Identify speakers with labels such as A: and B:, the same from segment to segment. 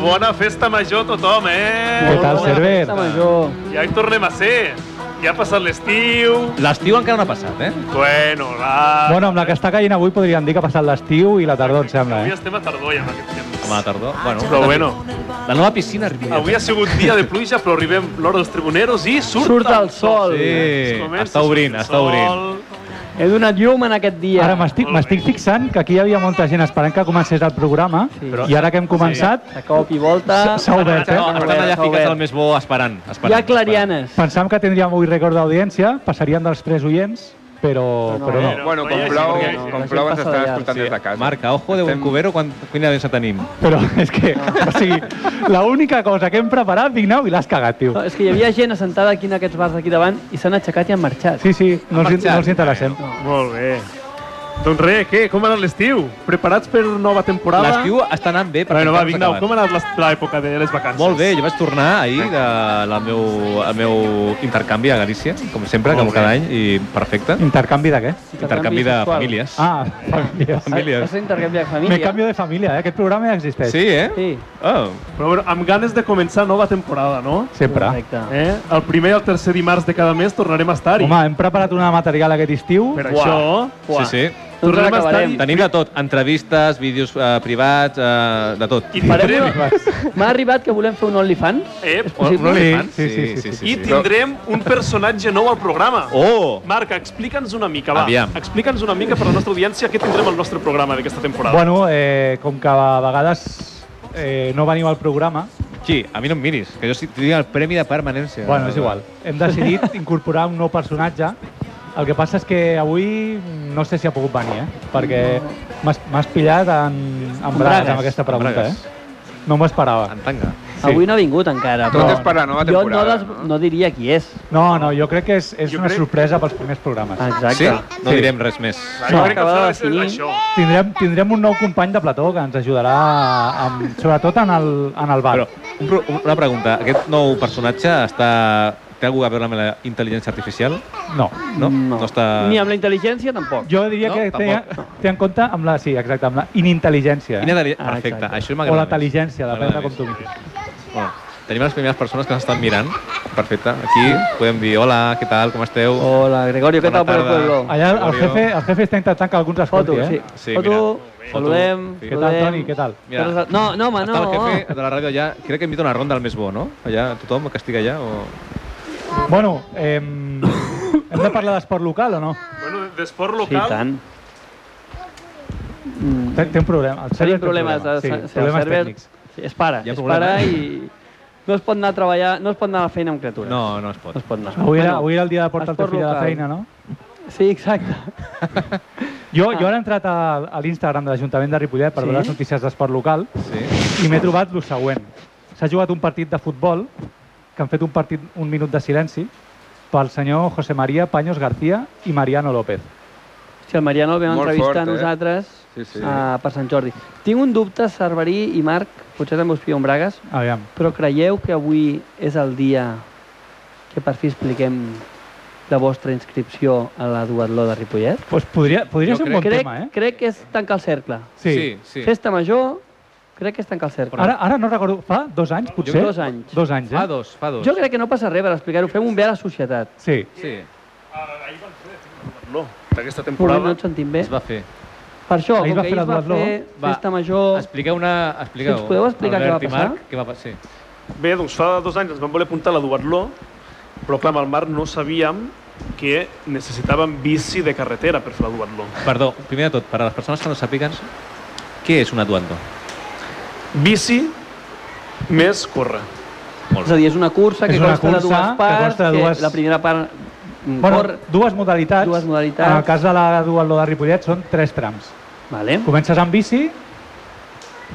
A: bona festa major a tothom, eh?
B: Què tal, Cerver?
A: Ja hi tornem a ser. Ja ha passat l'estiu.
C: L'estiu encara no ha passat, eh?
A: Bueno, va.
B: Bueno, amb la que està caient avui podríem dir que ha passat l'estiu i la tardor, em sembla,
A: Avui
B: eh?
A: estem a tardor ja amb aquest temps.
C: Home, la
D: Ah,
C: tardor. Bueno,
A: Però bueno,
C: La nova piscina arriba.
A: avui ha sigut dia de pluja, però arribem l'hora dels tribuneros i surt,
D: Surt el sol.
C: Sí,
A: Comença,
C: està obrint,
A: surt el
C: està obrint.
A: sol.
D: He donat llum en aquest dia.
B: Ara m'estic m'estic fixant que aquí hi havia molta gent esperant que comencés el programa
D: Sí.
B: i ara que hem començat
D: De cop i volta...
B: S'ha- s'ha obert, eh?
C: No,
D: S'ha
C: per tant, allà
D: obert, s'ha
C: fiques el
D: obert.
C: més bo esperant. esperant
D: Hi ha clarianes.
B: pensàvem que tindríem avui rècord d'audiència, passarien dels tres oients,
D: No,
B: però,
D: no.
B: però no.
A: Però-
E: Bueno,
A: no hi
E: com
A: hagi,
E: plou,
A: no hi hagi.
D: La
E: com
D: gent
E: plou ens
D: passa
E: estan
D: de llarg.
E: escoltant des de casa.
C: Marca, ojo de
E: Estem-
C: Estem... Cuncubero, quan, quina audiència tenim.
B: Però és que, o sigui, l'única cosa que hem preparat, Vignau, i l'has cagat, tio.
D: No, és que hi havia gent assentada aquí en aquests bars d'aquí davant i s'han aixecat i han marxat.
B: Sí, sí, no els, no els interessem.
A: Molt bé. Doncs res, què? Com ha anat l'estiu? Preparats per nova temporada?
C: L'estiu està anant bé. perquè
A: Bueno, va,
C: encara no s'ha
A: Vignau,
C: acabat.
A: com ha anat les- l'època de les vacances?
C: Molt bé, jo vaig tornar ahir de la meu, el meu intercanvi a Galícia, com sempre,
A: Molt
C: com cada
A: bé.
C: any, i perfecte.
B: Intercanvi de què?
C: Intercanvi de
D: sexual.
C: famílies.
B: Ah, família.
C: famílies.
D: Has intercanvi de família.
B: Me canvio de família, eh? Aquest programa ja existeix.
C: Sí, eh?
D: Sí,
C: Oh.
A: Però bueno, amb ganes de començar nova temporada, no?
B: Sempre.
D: correcte.
A: Eh? El primer i el tercer dimarts de cada mes tornarem a estar-hi.
B: Home, hem preparat una material aquest estiu.
A: Per això...
C: Sí,
D: Uah.
C: sí.
A: Tornem a estar
D: Doncs acabarem.
C: Tenim de tot, entrevistes, vídeos eh, privats, eh, de tot.
A: I tindrem,
D: M'ha arribat que volem fer un OnlyFans.
A: Ep,
C: No li fan?
B: Sí, sí, sí, sí, sí.
A: i tindrem un personatge nou al programa.
C: Oh!
A: Marc, explica'ns una mica, va.
C: Aviam.
A: Explica'ns una mica per la nostra audiència què tindrem al nostre programa d'aquesta temporada.
B: Bueno, eh, com que a vegades eh, no veniu al programa,
C: Qui? A mi no em miris, que jo sí tinc el premi de permanència.
B: bueno, és igual. Hem decidit incorporar un nou personatge. El que passa és que avui no sé si ha pogut venir, eh? Perquè m'has m'has pillat en, en bragues
D: bragues.
B: amb aquesta pregunta,
C: bragues.
B: eh? No m'ho esperava.
C: En tanga.
B: Sí.
D: Sí. Avui no ha vingut encara,
E: Tot
D: però...
E: és per la nova
D: jo no,
E: temporada.
D: des... no diria qui és.
B: No, no, jo crec que és, és
A: Jo
B: una
A: crec-
B: sorpresa pels primers programes.
D: Exacte.
C: Sí? No
B: Sí.
C: direm res més.
A: Va, jo
D: no,
A: crec que
D: acaba de
A: s'ha de ser
D: definir.
A: això.
B: Tindrem, tindrem un nou company de plató que ens ajudarà, amb, sobretot en el, en el bar.
C: Però, un pro- una pregunta. Aquest nou personatge està... Té alguna cosa a veure amb la intel·ligència artificial?
B: No.
C: No? No, està...
D: Ni amb la intel·ligència, tampoc.
B: Jo diria
C: No,
B: que té,
C: tampoc.
B: té en compte amb la, sí, exacte, amb la inintel·ligència.
C: Quina de...
D: Ah,
C: Perfecte,
D: exacte.
C: això
B: o
C: m'agrada
B: la
C: més.
B: intel·ligència, depèn de
C: M'agrada
B: com tu
C: més.
B: miris.
C: Bueno, tenim les primeres persones que ens estan mirant. Perfecte. Aquí podem dir hola, què tal, com esteu?
D: Hola, Gregorio, què tal
C: Bona
D: per el
C: tarda.
D: pueblo?
B: Allà el
C: Gregorio.
B: jefe, el jefe està intentant que algú ens escolti,
D: Foto, sí.
B: eh?
C: Sí,
D: Foto,
C: mira.
D: saludem,
C: Foto, sí.
B: Què tal,
D: saludem.
B: Toni, què tal?
C: Mira,
D: Però- No, no, home, no.
C: Està el jefe de la ràdio allà. Crec que invita una ronda al més bo, no? Allà, tothom que estigui allà o...
B: Bueno, eh, hem de parlar d'esport local o no?
A: Bueno, d'esport
D: Sí,
A: local...
D: tant.
B: Té, té un problema.
D: Tenim
B: El Server té un
D: problemes eh, de
B: problema.
D: sí,
B: sí, Mm. problemes
D: server.
B: tècnics.
D: Sí, es para,
C: Hi ha
D: es
C: problema.
D: para i no es pot anar a treballar, no es pot anar a la feina amb criatures.
C: No, no es pot.
D: No es pot anar.
B: Avui era, avui era el dia de portar el teu
D: esport
B: fill a la
D: local.
B: feina, no?
D: Sí, exacte.
B: Jo, jo ara he entrat a, a l'Instagram de l'Ajuntament de Ripollet per
D: Sí?
B: veure les notícies d'esport local
C: Sí.
B: i m'he trobat el següent. S'ha jugat un partit de futbol que han fet un partit un minut de silenci pel senyor José María Paños García i Mariano López.
D: Si el Mariano ve a
E: Molt
D: entrevistar
E: fort,
D: a
E: eh?
D: nosalles
E: Sí, sí.
D: eh, per Sant Jordi. Tinc un dubte, Cerverí i Marc, potser també us pillo amb bragues,
B: Aviam.
D: però creieu que avui és el dia que per fi expliquem la vostra inscripció a la Duatló de Ripollet?
B: Pues podria, podria
C: Jo
B: ser un
C: crec-
B: bon
D: crec,
B: tema, eh?
D: crec que és tancar el cercle.
B: Sí.
C: sí.
D: Festa major, crec que és tancar el cercle.
B: Ara, ara no recordo, fa dos anys, potser?
D: dos anys.
B: Dos anys, eh?
C: Fa dos, fa dos.
D: Jo crec que no passa res per explicar-ho. Fem un bé a la societat.
B: Sí.
C: Sí,
D: Eh?
A: eh, No, d'aquesta
D: Probablement no
A: temporada...
D: ens sentim bé.
C: es va fer.
D: Per això,
B: Ahir
D: com
B: va
D: que ahir
B: fer la
D: es va
B: Duatló,
D: fer
C: va-
D: festa major...
C: Expliqueu una... Expliqueu.
D: Si ens podeu explicar
C: Albert
D: què va
C: i
D: passar?
C: Marc, què va passar? Sí.
A: Bé, doncs fa dos anys ens vam voler apuntar a la Duatló, però clar, amb el Marc no sabíem que necessitàvem bici de carretera per fer la Duatló.
C: Perdó, primer de tot, per a les persones que no sàpiguen, què és un atuando?
A: Bici més córrer.
D: És a dir, és una cursa que
B: És una
D: consta de
B: cursa
D: dues
B: que
D: parts,
B: consta de dues-
D: la primera part mm,
B: Bueno,
D: cor...
B: dues modalitats.
D: dues modalitats.
B: En el cas de la duatló de Ripollet són tres trams.
D: Vale.
B: Comences amb bici,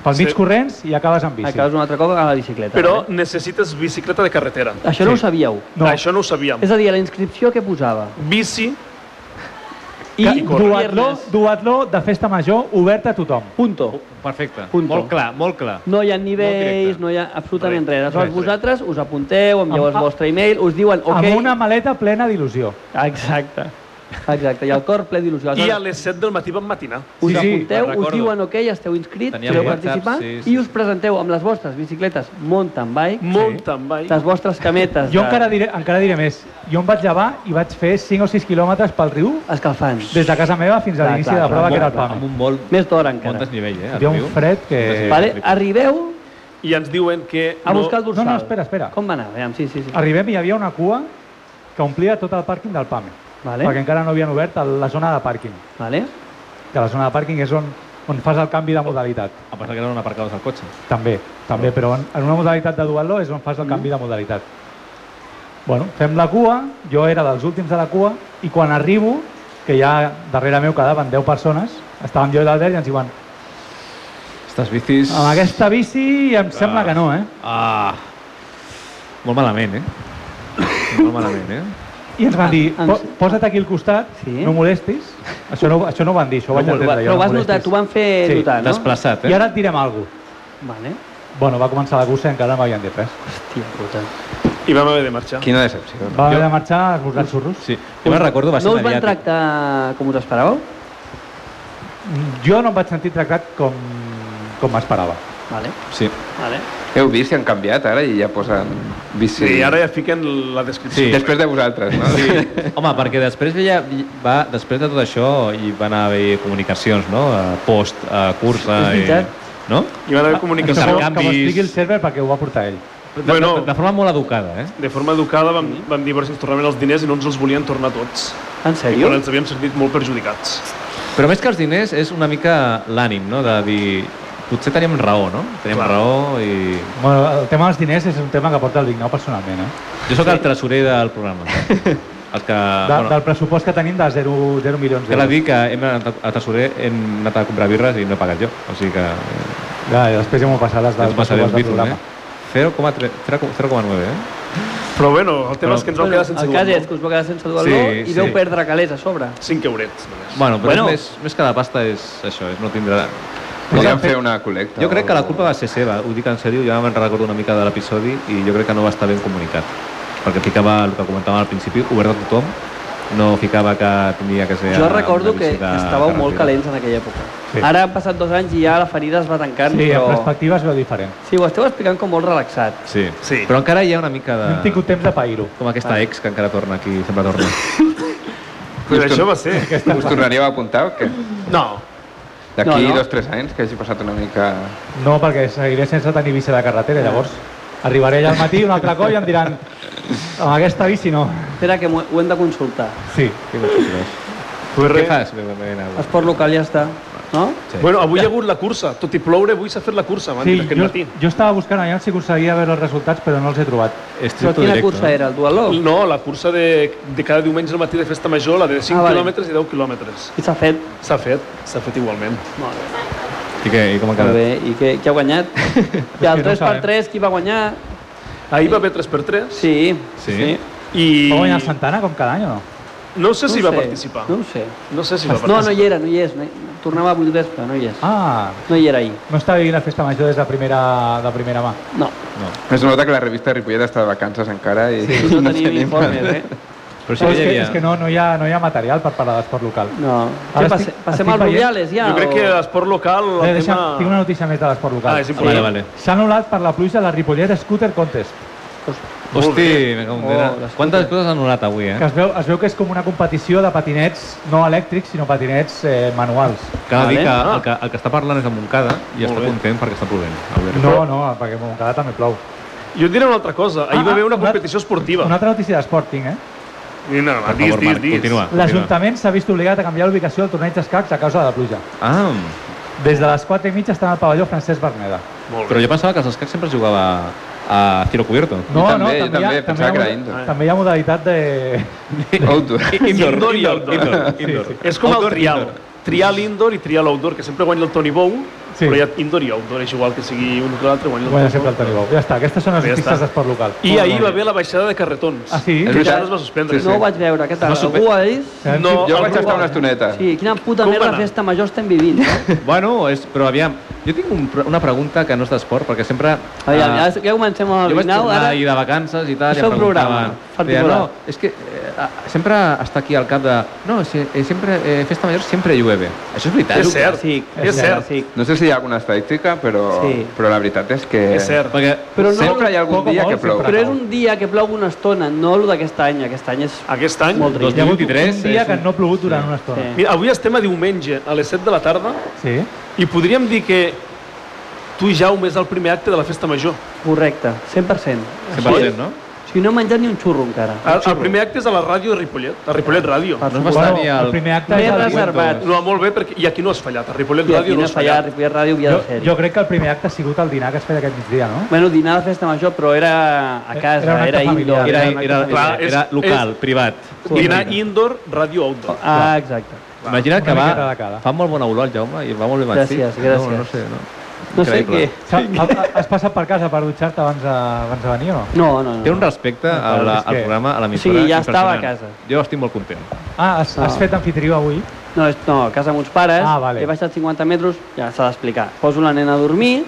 B: pel
A: Sí.
B: mig corrents i acabes amb bici.
D: Acabes un altre cop a la bicicleta.
A: Però
D: vale?
A: necessites bicicleta de carretera.
D: Això no
B: Sí.
D: ho sabíeu.
B: No,
A: Això no ho sabíem.
D: És a dir, a la inscripció que posava.
A: Bici
D: I
B: duatló,
D: duatló...
B: duatló de festa major oberta a tothom.
D: Punto.
C: Perfecte.
D: Punto.
C: Molt clar, molt clar.
D: No hi ha nivells,
C: directe.
D: no hi ha absolutament
A: Res,
D: res. Aleshores,
A: res,
D: vosaltres us apunteu, envieu el
B: Amb-
D: vostre email, us diuen ok...
B: Amb una maleta plena d'il·lusió.
D: Exacte. Exacte, i el cor ple d'il·lusió.
A: I a
D: Aleshores,
A: les 7 del matí vam matinar.
D: us
B: Sí, sí,
D: apunteu,
C: me'n
D: us
C: recordo.
D: diuen ok, esteu inscrits,
C: Teníem
D: podeu
C: WhatsApp,
D: participar,
C: sí, sí,
D: i us
C: sí.
D: presenteu amb les vostres bicicletes mountain bike,
A: Mountain bike.
D: les vostres cametes
B: Jo
D: de-
B: encara diré, encara diré més. Jo em vaig llevar i vaig fer 5 o 6 quilòmetres pel riu
D: escalfant.
B: des de casa meva fins a
D: Clar,
B: l'inici
D: clar,
B: de la
D: clar,
B: prova, que era el
D: clar,
B: PAME.
C: Amb un molt,
D: Més d'hora
C: molt
D: encara.
C: desnivell, eh?
B: Hi
C: al
B: havia un
C: riu.
B: fred que-
D: Vale,
C: flipa.
D: arribeu
A: I ens diuen que...
D: a buscar el dorsal.
B: No, no, espera, espera.
D: Com va anar? Aviam, sí, sí, sí.
B: Arribem i hi havia una cua que omplia tot el pàrquing del PAME,
D: Vale,
B: perquè encara no havien obert el- la zona de pàrquing,
D: vale.
B: que la zona de pàrquing és on, on fas el canvi de modalitat.
C: A pensar que eren aparcades al cotxe.
B: També, també, però en, en una modalitat de duatló és on fas el canvi de modalitat. Bueno, fem la cua, jo era dels últims de la cua, i quan arribo, que ja darrere meu quedaven 10 persones, estàvem jo i l'Albert i ens diuen
C: Estas bicis...
B: amb aquesta bici em sembla que no, eh?
C: Ah! Molt malament, eh? molt malament, eh?
B: I ens van dir,
D: Ah, em-
B: "Po- posa't aquí al costat,
D: Sí.
B: no molestis. Això no, això no ho van dir, això ho vaig
D: Però ho va-
B: entendre jo.
D: però ho
B: no
D: vas notar,
B: molestis.
D: t'ho van fer
B: Sí,
D: notar, no?
C: Desplaçat, eh?
B: I ara et direm alguna cosa.
D: Vale.
B: Bueno, va començar la cursa i encara no m'havien dit res.
D: Hòstia puta.
A: I vam haver de marxar.
C: Quina decepció.
B: Va haver
C: jo,
B: de marxar esborzant xurros.
C: sí, jo me'n recordo, va ser
D: No us van
C: mediàtic.
D: tractar com us esperàveu?
B: Jo no em vaig sentir tractat com, com m'esperava.
D: Vale,
C: Sí.
D: vale.
E: Heu vist que han canviat ara i ja posen bici.
A: Sí, i ara ja fiquen la descripció.
C: Sí.
E: Després de vosaltres, no? Sí.
C: Home, perquè després ja va, després de tot això hi van haver comunicacions, no? Eh, Post, eh, cursa...
D: És veritat.
C: I, no?
A: I van haver
B: Que
A: comunicació.
B: m'ho
C: Intercanvis.
B: que m'ho expliqui el server perquè ho va portar ell.
C: De,
A: Bueno.
C: de, de, forma molt educada, eh?
A: De forma educada vam, vam dir a veure si ens tornaven els diners i no ens els volien tornar tots.
D: En
A: I quan
D: sèrio?
A: ens havíem sentit molt perjudicats.
C: Però més que els diners és una mica l'ànim, no? De dir, potser teníem raó, no? Teníem
A: Clar.
C: raó i...
B: Bueno, el tema dels diners és un tema que porta el Vignau personalment, eh?
C: Jo sóc el tresorer del programa. El que...
A: Ah,
B: De, del pressupost que tenim de 0, 0 milions
C: Cal a
B: d'euros.
C: dir que hem anat a tresorer, hem anat a comprar birres i no he pagat jo. O sigui que eh,
B: Ja, i després ja m'ho passarà les del
C: ens passaré
B: pressupost
C: els
B: del
C: bifos, eh?
B: programa.
C: 0,3 0,9, eh?
A: Però bueno, el tema
C: Però-
A: és que ens vam
D: Bueno,
A: quedar sense
D: el cas és que us va quedar sense dualó
C: Sí,
D: i
C: sí.
D: veu perdre calés a sobre.
A: 5 eurets només.
C: Bueno, però
D: Bueno.
C: bueno. Més, més que la pasta és això, és no tindrà...
E: Podríem fer una col·lecta.
C: Jo crec que la culpa va ser seva, ho dic en sèrio, jo me'n recordo una mica de l'episodi i jo crec que no va estar ben comunicat, perquè ficava el que comentàvem al principi, obert a tothom, no ficava que tenia que ser...
D: Jo
C: una
D: recordo
C: bici
D: que
C: de
D: estàveu molt
C: carretera.
D: calents en aquella època.
B: Sí.
D: Ara han passat dos anys i ja la ferida es va tancant,
B: Sí, en
D: però...
B: perspectiva es veu diferent.
D: Sí, ho esteu explicant com molt relaxat.
C: Sí.
A: Sí.
C: sí, però encara hi ha una mica
B: No
A: Ah.
C: de...
B: hem tingut temps de pair-ho.
C: Com aquesta ex que encara torna aquí, sempre torna.
A: Però això va ser.
E: Us tornaríeu a apuntar o què?
A: No.
E: D'aquí
D: No, no.
E: dos, tres anys, que hagi passat una mica...
B: No, perquè seguiré sense tenir bici de
A: Ah.
B: carretera, llavors. Arribaré allà al matí un altre cop i em diran amb aquesta bici no.
D: Espera, que m'ho- ho hem de consultar.
B: Sí.
C: Què fas?
B: eh,
C: Què fas? Bé, bé, bé, bé.
D: Esport local ja està, no?
C: Sí.
A: Bueno, avui hi ha hagut la cursa. Tot i ploure, avui s'ha fet la cursa, m'han
B: sí
A: dit aquest
B: jo,
A: matí.
B: jo estava buscant allà si aconseguia veure els resultats, però no els he trobat.
D: Però
C: Estricto
D: quina
C: directo,
D: cursa
B: eh?
C: no?
D: era, el dualó?
A: No, la cursa de, de cada diumenge al matí de festa major, la de 5
D: Ah,
A: ah,
D: vale.
A: quilòmetres i 10 quilòmetres.
D: I s'ha fet.
A: S'ha fet, s'ha fet igualment.
D: Molt bé.
C: I què? I com ha
D: Molt
C: quedat?
D: bé, i què, qui ha guanyat? I
B: que
D: el
B: no
D: 3x3, qui va guanyar?
A: Ahir va haver 3x3
D: Sí,
C: Sí?
A: i...
B: Va guanyar el Santana com cada any o no?
A: No sé
D: No
A: si
D: ho
A: va
D: sé,
A: participar.
D: No ho sé.
A: No sé si va
D: No, no
A: participar.
D: hi era, no hi és. No hi... Tornava a vuit vespre, no hi és.
B: Ah,
D: No hi era ahir.
B: no està vivint la festa major des de primera, de primera mà.
D: No,
C: No.
E: Es nota que la revista Ripollet està de vacances encara i...
D: sí, no, tenim informes, eh?
C: Però sí
B: Però
C: que
B: és,
C: hi
B: que,
C: havia...
B: és que no, no, hi ha, no hi ha material per parlar d'esport local.
D: No.
B: Ara
D: Què, passe-
B: estic-
D: passem
B: estic
D: als
B: veient-
D: Rubiales ja?
A: Jo crec
D: o-
A: que l'esport local, el
B: Eh, deixa,
A: tema...
B: Tinc una notícia més de l'esport local.
A: Ah, és
C: Ah, vale,
A: important.
C: vale.
B: S'ha anul·lat per la pluja la Ripollet Scooter Contest,
A: Molt
C: Hosti,
A: bé.
C: me cago en
D: Oh,
C: dena.
D: les
C: Quantes coses han anul·lat avui, eh?
B: que es veu, es veu que és com una competició de patinets no elèctrics, sinó patinets eh, manuals.
C: Cal dir
D: Vale.
C: que el, que el que està parlant és de Montcada i
A: Ah. Molt
C: està
A: bé.
C: content perquè està plovent. avui.
B: No, no, perquè a Montcada també plou.
A: Jo et diré una altra cosa. Ahir
B: Ah,
A: va haver una
B: una-
A: competició esportiva.
B: Una altra notícia d'esport tinc, eh?
A: Nina,
C: Per
A: dis,
C: favor,
A: dis,
C: Marc,
A: dis.
C: continua.
B: L'Ajuntament s'ha vist obligat a canviar l'ubicació del torneig d'escacs a causa de la pluja.
C: Ah,
B: Des de les 4 i mitja estan al pavelló Francesc Berneda.
A: Molt
C: però
A: bé.
C: jo pensava que els escacs sempre es jugava a tiro cobierto.
E: Jo també, jo també,
B: hi ha-
E: pensava
B: hi ha
E: que era
B: moda-
E: indoor.
B: també hi ha modalitat de...
A: Ah.
D: eh?
E: Outdoor.
A: Indoor, indoor,
C: indoor,
A: outdoor.
C: indoor, indoor.
A: És com el
C: Outdoor,
A: trial.
C: indoor.
A: Trial indoor i trial outdoor, que sempre guanya el Tony Bou,
B: Sí.
A: però hi ha indoor i outdoor, és igual que sigui un que l'altre, guanya el
B: Bueno,
A: Tony
B: sempre el Toni Bou. Ja està, aquestes són les
A: Ja
B: notícies
A: està.
B: d'esport local.
A: I ahir va haver la baixada de carretons.
B: Ah, sí?
E: És
A: Que ja
E: veritat?
A: no es va suspendre.
E: Sí, sí.
D: No ho vaig veure, què tal?
C: No supe-
D: Algú ho ha vist?
B: Sabem
A: No,
E: Jo
A: el
E: vaig estar
A: Rubiales.
E: una estoneta.
D: Sí, quina puta
A: Com va
D: merda
A: anar?
D: festa major estem vivint. Eh?
C: Bueno, és, però aviam, jo tinc un, pre- una pregunta que no és d'esport, perquè sempre...
D: Aviam,
C: ah,
D: ja, ja comencem amb
C: Jo
D: el
C: vaig
D: Vignau,
C: tornar
D: ara...
C: ahir de vacances i tal,
D: Això
C: i em
D: programa
C: preguntaven...
D: particular.
C: no, és que eh, eh, sempre està aquí al cap de... No, si, eh, sempre, eh, festa major sempre llueve. Això és veritat.
A: És cert.
D: Sí,
A: És cert.
D: Sí.
E: No sé si hi ha alguna estadística, però,
D: Sí.
E: però la veritat és que...
A: És cert.
C: Perquè
D: Però no,
E: Sempre hi ha algun
B: poc o
E: dia
B: molt,
E: que plou.
D: Però és un dia que plou una estona, no el d'aquest any. Aquest any és...
A: Aquest any...
D: Molt trist.
B: Hi ha hagut
C: 2023
B: un
D: eh,
B: dia
C: és
B: que
C: un-
B: no ha plogut durant una estona.
A: Mira, avui estem a diumenge, a les 7 de la tarda,
B: Sí.
A: i podríem dir que tu, Jaume, és el primer acte de la festa major.
D: Correcte, 100%.
C: 100%, no?
D: O sigui, no he menjat ni un xurro encara.
A: El, el primer acte és a la ràdio de Ripollet, a Ripollet Ràdio.
D: Per
C: No es va
D: suposat.
C: estar
B: Bueno,
C: ni
B: el
C: al...
B: primer acte
D: M'he
B: és el
D: reservat.
A: No, molt bé, perquè i aquí no has fallat, a Ripollet
D: I
A: Ràdio
D: aquí
A: no
D: no
A: has
D: fallar,
A: fallat.
D: Ripollet Ràdio havia
B: Jo,
D: de ser.
B: jo crec que el primer acte ha sigut el dinar que es feia aquest migdia, no?
D: Bueno, dinar de festa major, però era a
B: Eh, Era
D: casa,
B: un
D: era,
B: acte
D: indoor.
B: familiar.
C: Era,
D: un acte
C: era, era,
D: familiar.
A: és-
C: era local,
A: és-
C: privat.
A: Dinar indoor, ràdio outdoor.
D: Ah, exacte.
C: Imagina't que
B: Una miqueta de
C: va,
B: cada.
C: fa molt bona olor el Jaume i va molt bé vestit.
D: Gràcies, gràcies.
C: No, no sé, no.
D: No sé
C: Increïble.
D: què...
B: S'ha- ha- Has passat per casa per dutxar-te abans, de, abans de venir o no?
D: No, no, no.
C: Té un respecte a la,
B: és
C: al
B: que-
C: programa, a
D: O
C: l'emissora.
D: sigui, ja estava
C: impressionant.
D: a casa.
C: Jo estic molt content.
B: Ah, has, has
D: No.
B: fet anfitrió avui?
D: No, és, no, a casa amb uns pares,
B: Ah, vale.
D: he baixat 50 metres, ja s'ha d'explicar. Poso la nena a dormir,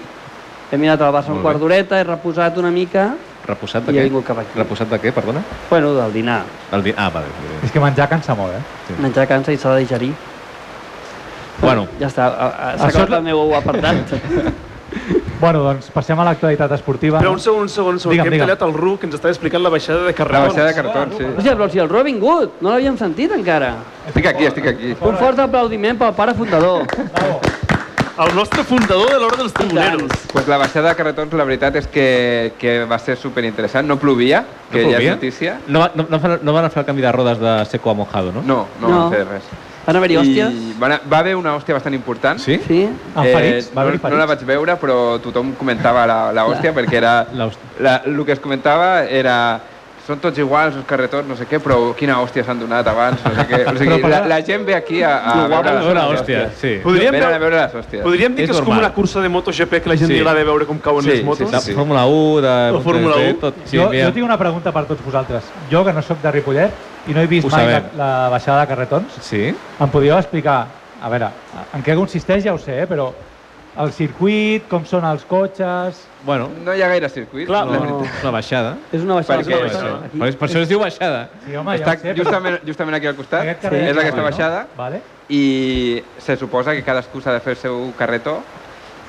D: he minat al Barça un
C: Molt bé.
D: quart d'horeta, he reposat una mica,
C: Reposat de
D: I he
C: què?
D: vingut cap aquí.
C: Reposat de què, perdona?
D: bueno, del dinar.
C: El vi... Ah, vale. molt bé.
B: És que menjar cansa molt, eh?
D: Menjar cansa i s'ha de digerir.
C: Bueno,
D: Ja està, a- a- s'ha
B: Això és
D: acabat
B: la-
D: el meu apartat.
B: Bueno, doncs passem a l'actualitat esportiva.
A: Però un segon, un segon, un segon, que
B: Digue'm,
A: hem
B: digue'm.
A: tallat el Ru, que ens estava explicant la baixada de
E: La
A: Carragona.
E: baixada de cartons, sí.
D: Hòstia, però si el Ro ha vingut, no l'havíem sentit encara.
E: Estic aquí, estic aquí.
D: Un fort aplaudiment pel pare fundador.
B: Bravo.
A: El nostre fundador de l'Hora dels Tribuneros.
E: Pues la baixada de carretons, la veritat és que, que va ser superinteressant. No plovia, que ja
C: plovia?
E: és notícia.
C: no, va- no, no, fan- no van a fer el canvi de rodes de seco a mojado, no?
E: No, no,
D: No.
E: no. fer res.
D: Van haver-hi hòsties?
E: I va, anar- va haver una hòstia bastant important. Eh,
C: Sí?
D: Sí?
B: Ah, ferits? Va
E: no,
B: haver-hi
E: no
B: ferits?
E: la vaig veure, però tothom comentava la, la hòstia, perquè era...
C: La hòstia.
E: La, el que es comentava era... Són tots iguals, els carretons, no sé què, però quina hòstia s'han donat abans, no sé què. O sigui,
B: Però per
E: la,
B: la-
E: la gent ve aquí a, a
C: Ah,
E: veure les
C: una
E: hòsties.
C: hòstia, sí.
A: Podríem
E: Venen a
A: veure-
E: veure les hòsties.
A: Podríem dir
C: És
A: que és com
C: normal.
A: una cursa de MotoGP que la gent li
C: Sí.
A: agrada veure com cauen
E: Sí,
A: les motos.
C: De
E: sí.
C: Fórmula 1, de...
A: O Fórmula
C: de-
A: 1.
C: Tot, sí,
B: jo,
C: mira.
B: jo tinc una pregunta per tots vosaltres. Jo, que no sóc de Ripollet i no he vist
C: Ho
B: mai la,
C: sabem.
B: la baixada de carretons,
C: Sí?
B: em podíeu explicar, a veure, en què consisteix ja ho sé, eh, però el circuit, com són els cotxes...
C: Bueno,
E: No hi ha gaire circuit.
A: Clar,
E: la
C: no,
E: veritat.
C: no. és una baixada.
D: És una baixada.
E: Perquè-
D: és una
A: Aquí.
C: Per, per això es diu baixada.
B: Sí, home,
E: Està
B: ja ho sé, però
E: justament, justament aquí al costat,
B: Aquest carrer
E: és
B: és
E: aquesta
B: guai, no?
E: baixada,
B: Vale?
E: i se suposa que cadascú s'ha de fer el seu carretó.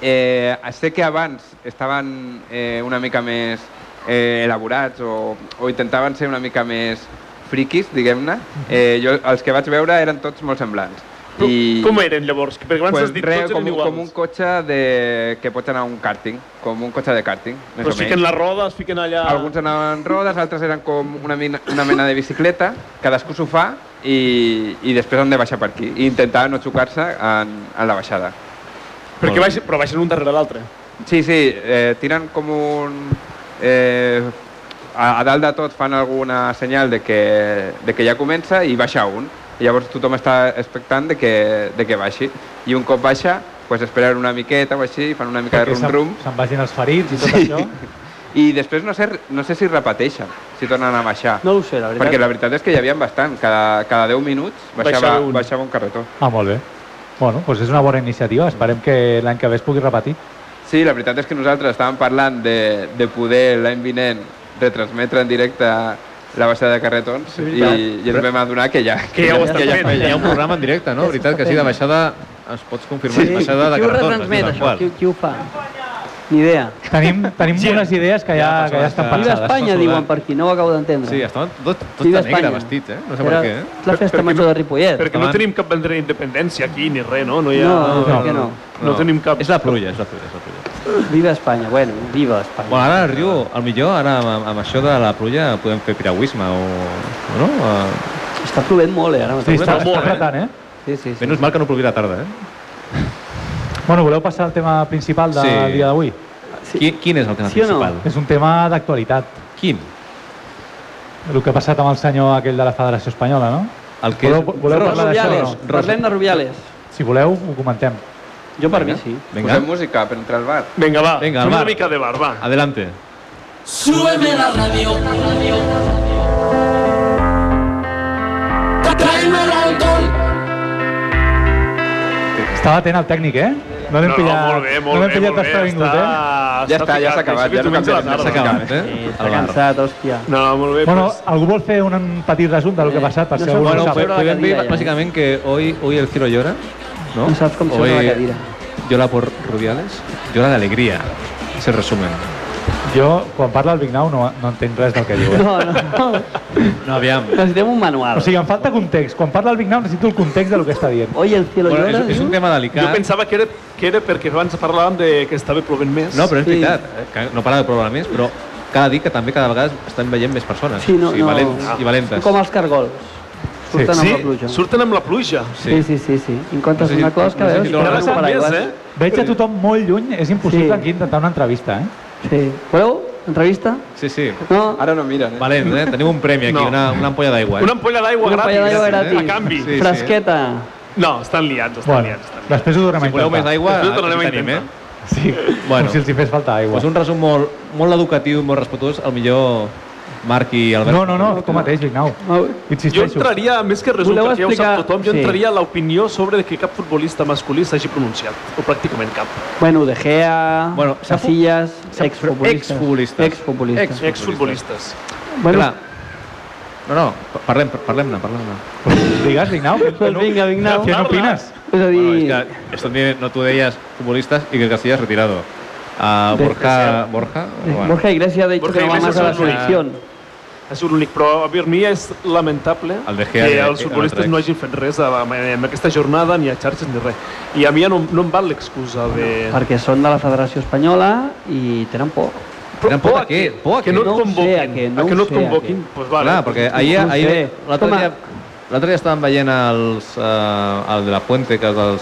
E: Eh, sé que abans estaven eh, una mica més eh, elaborats o, o intentaven ser una mica més friquis, diguem-ne. Eh, jo, els que vaig veure eren tots molt semblants.
A: Com- Com eren llavors? Perquè abans has dit
E: res,
A: tots
E: com,
A: eren
E: un-
A: iguals.
E: com un cotxe de, que pot anar a un càrting, com un cotxe de càrting, més
A: Però
E: o
A: es
E: menys.
A: fiquen la roda, es fiquen allà...
E: Alguns anaven en rodes, altres eren com una, mina, una mena de bicicleta, cadascú s'ho fa i, i després han de baixar per aquí. I intentava no xocar-se en, en la baixada.
A: Perquè baixen, però baixen un darrere l'altre.
E: Sí, sí, eh, tiren com un... Eh, a, a dalt de tot fan alguna senyal de que, de que ja comença i baixa un. I llavors tothom està expectant de que, de que baixi. I un cop baixa, pues esperen una miqueta o així, fan una mica de
B: Perquè se'n-
E: rum-rum.
B: Se'n vagin els ferits i tot això.
E: I després no sé, no sé si repeteixen, si tornen a baixar.
D: No ho sé, la veritat.
E: Perquè la veritat és que hi havia bastant. Cada, cada 10 minuts baixava,
A: Baixava
E: baixava,
A: un.
E: un. baixava un carretó.
B: Ah, molt bé. Bueno, doncs és una bona iniciativa. Esperem que l'any que ve es pugui repetir.
E: Sí, la veritat és que nosaltres estàvem parlant de, de poder l'any vinent retransmetre en directe la baixada de carretons i, i ens vam adonar que ja,
A: Que ja ho
D: estan
A: estan
D: ja
A: fent.
C: Hi ha un programa en directe, no? Veritat que sí, de baixada es pots confirmar.
D: Sí,
C: Baixada de
D: qui ho
C: cartons,
D: retransmet,
C: tal
D: això?
C: qual.
D: Qui, qui ho fa? Ni idea.
B: Tenim, tenim
A: Gent.
B: unes idees que ja,
C: Ja,
B: que ja estan
C: persones
D: Viva
C: Passades,
B: pensades.
D: Espanya,
C: passades.
D: diuen per aquí, no ho acabo d'entendre.
C: Sí, estaven tot, tot
D: Viva
C: de negre
D: Espanya.
C: vestits, eh? No sé
D: Era
C: per què. eh?
D: la festa major de Ripollet.
A: Perquè no
C: Davant.
A: tenim cap bandera d'independència aquí ni res, no? No, hi ha...
D: No, no,
B: no,
D: no, no.
A: no tenim cap-
C: És la pluja, és la pluja, és la pluja.
D: Viva Espanya, bueno, viva Espanya.
C: Bueno, ara el riu, el millor, ara amb, amb això de la pluja podem fer piragüisme o... o no? Eh,
D: Està plovent molt, eh, ara
B: Sí,
D: mateix.
B: està,
A: Molt,
B: està
A: eh?
B: apretant, eh?
D: Sí, sí, sí.
C: Menys mal que no plogui la tarda, eh?
B: Bueno, voleu passar al tema principal del
C: Sí.
B: dia d'avui?
D: Sí.
C: Qui, quin és el tema
D: Sí o no?
C: principal?
B: És un tema d'actualitat.
C: Quin?
B: El que ha passat amb el senyor aquell de la Federació Espanyola, no?
C: El que...
B: Voleu-
C: és-
B: voleu
C: Ros-
B: parlar d'això o
D: Rubiales,
B: no?
C: Ros-
D: parlem de Rubiales.
B: Si voleu, ho comentem.
D: Jo per mi sí.
C: Vinga,
E: Posem música per entrar al bar.
A: Vinga, va,
C: Vinga,
A: fem
C: va.
A: una mica de bar, va.
C: adelante.
F: Súbeme la radio. Tráeme el alcohol.
B: Estava atent el tècnic, eh? No l'hem
A: No, no,
B: pillat,
A: molt bé, molt
B: no l'hem
A: bé,
B: pillat
A: molt bé.
B: desprevingut,
A: Està...
B: eh?
E: Ja està, ja s'ha
A: ficat, deixa
E: acabat,
A: que
E: ja no
A: diumenge a la tarda.
E: canviem, s'ha acabat.
C: eh?
D: Eh, està
C: Al bar.
D: cansat, hòstia.
A: No, molt bé.
B: Bueno,
A: pues,
B: algún vol fer un, un petit resum del que ha passat, per
D: No
B: si
D: sé,
B: algú
D: bueno,
B: no ho
C: Bueno,
D: sobre la
B: sap.
C: pues, podem dir
D: cadira, ja.
C: básicamente que hoy, hoy el giro llora, ¿no?
D: No sabes cómo se llama la
C: Hoy
D: cadira.
C: Llora por Rubiales, llora de alegría, ese resumen.
B: Jo, quan parla el Vignau, no, no entenc res del que diu. eh?
D: No, no.
C: No, aviam.
D: Necessitem un manual.
B: O
C: Pues
B: sigui, em falta context. Quan parla el Vignau necessito el context del que està dient.
D: Hoy el cielo
C: Bueno,
D: llora,
C: és, és un
D: diu?
C: tema
A: jo
C: delicat.
A: pensava que era, que era perquè abans parlàvem de que estava plovent més.
C: No, però és
D: Sí.
C: veritat, eh, que no para de provar més, però cada dia que també cada vegada estan veient més persones.
D: Sí, no,
C: o sigui,
D: no.
C: valents i valentes.
D: Com els cargols. Surten
A: sí,
D: amb la pluja.
A: surten amb la pluja.
D: Sí, sí, sí, sí. En
C: No
D: comptes
C: sé si-
D: d'una closca,
C: no sé
D: veus?
C: si
D: i
C: tornarà
A: Cada
C: Però
D: posen un
A: vegada més,
D: paraigües.
A: eh?
B: Veig a tothom molt lluny, és impossible
D: Sí.
B: aquí intentar una entrevista, eh?
D: Sí. Voleu? Entrevista?
C: Sí, sí.
D: No?
E: Ara no miren, eh?
C: Valent, eh? Tenim un premi aquí,
A: No.
C: una, una ampolla d'aigua. eh?
A: Una ampolla d'aigua
D: Una
A: gratis.
D: ampolla d'aigua gratis.
A: A canvi.
C: Sí, sí.
D: Fresqueta.
A: No, estan liats, estan
B: Bueno,
A: liats. Estan liats.
B: després ho tornem
C: Si
B: a
C: voleu més
B: intentar.
C: aigua,
A: Després ho tornem
C: aquí
A: a
C: tenim, eh?
A: intentar.
B: Sí,
C: Bueno.
B: com si els hi fes falta aigua.
C: Pues un resum molt, molt educatiu, molt respetuós, el millor Marc i Albert.
B: No, no, no, tu mateix, Vignau.
D: Au.
A: Jo
B: Insisteixo.
A: entraria, més que resum,
D: Voleu
A: perquè ja ho sap
D: explicar-
A: tothom, jo
D: Sí.
A: entraria a l'opinió sobre que cap futbolista masculí s'hagi pronunciat, o pràcticament cap.
D: Bueno, De Gea,
C: Bueno, s'ha fu-
D: Casillas,
C: s'ha-
D: exfutbolistes.
C: exfutbolistes.
D: Exfutbolistes.
C: Ex-
A: Exfutbolistes.
D: Bueno,
C: Clar. No, no, parlem, parlem-ne, parlem-ne.
B: Digues, Vignau.
D: Pues vinga, Vignau.
B: Què n'opines?
D: és a
C: Bueno,
D: dir,
C: es que esto tiene- no tú de ellas futbolistas y que Casillas retirado. A
D: De-
C: Borja, Borja, bueno.
D: eh, Borja Iglesias, de hecho,
A: Borja
D: que no va
A: Iglesias
D: más a la
A: es un únic.
D: selección.
A: És l'únic, però per mi és lamentable
C: El De Gea
A: que
C: i-
A: els
C: i
A: futbolistes
C: l'altre
A: no
C: ex.
A: hagin fet res amb amb aquesta jornada, ni a xarxes, ni res. I a mi ja no, no em val l'excusa de...
D: Perquè són de la Federació Espanyola i tenen por.
A: Però
C: Tampoc
A: por
C: a què? Por a
A: que
C: què?
A: no et
D: No ho sé, a
A: convoquin,
D: què, no
A: a que
D: ho
A: no et
D: sé, a
A: convoquin,
D: què.
A: doncs vale.
C: Clar, perquè ahir,
D: No
C: ahir
D: sé.
C: l'altre
D: Home.
C: dia, l'altre dia estàvem veient els, eh, el de la Puente, que és el
D: Aquí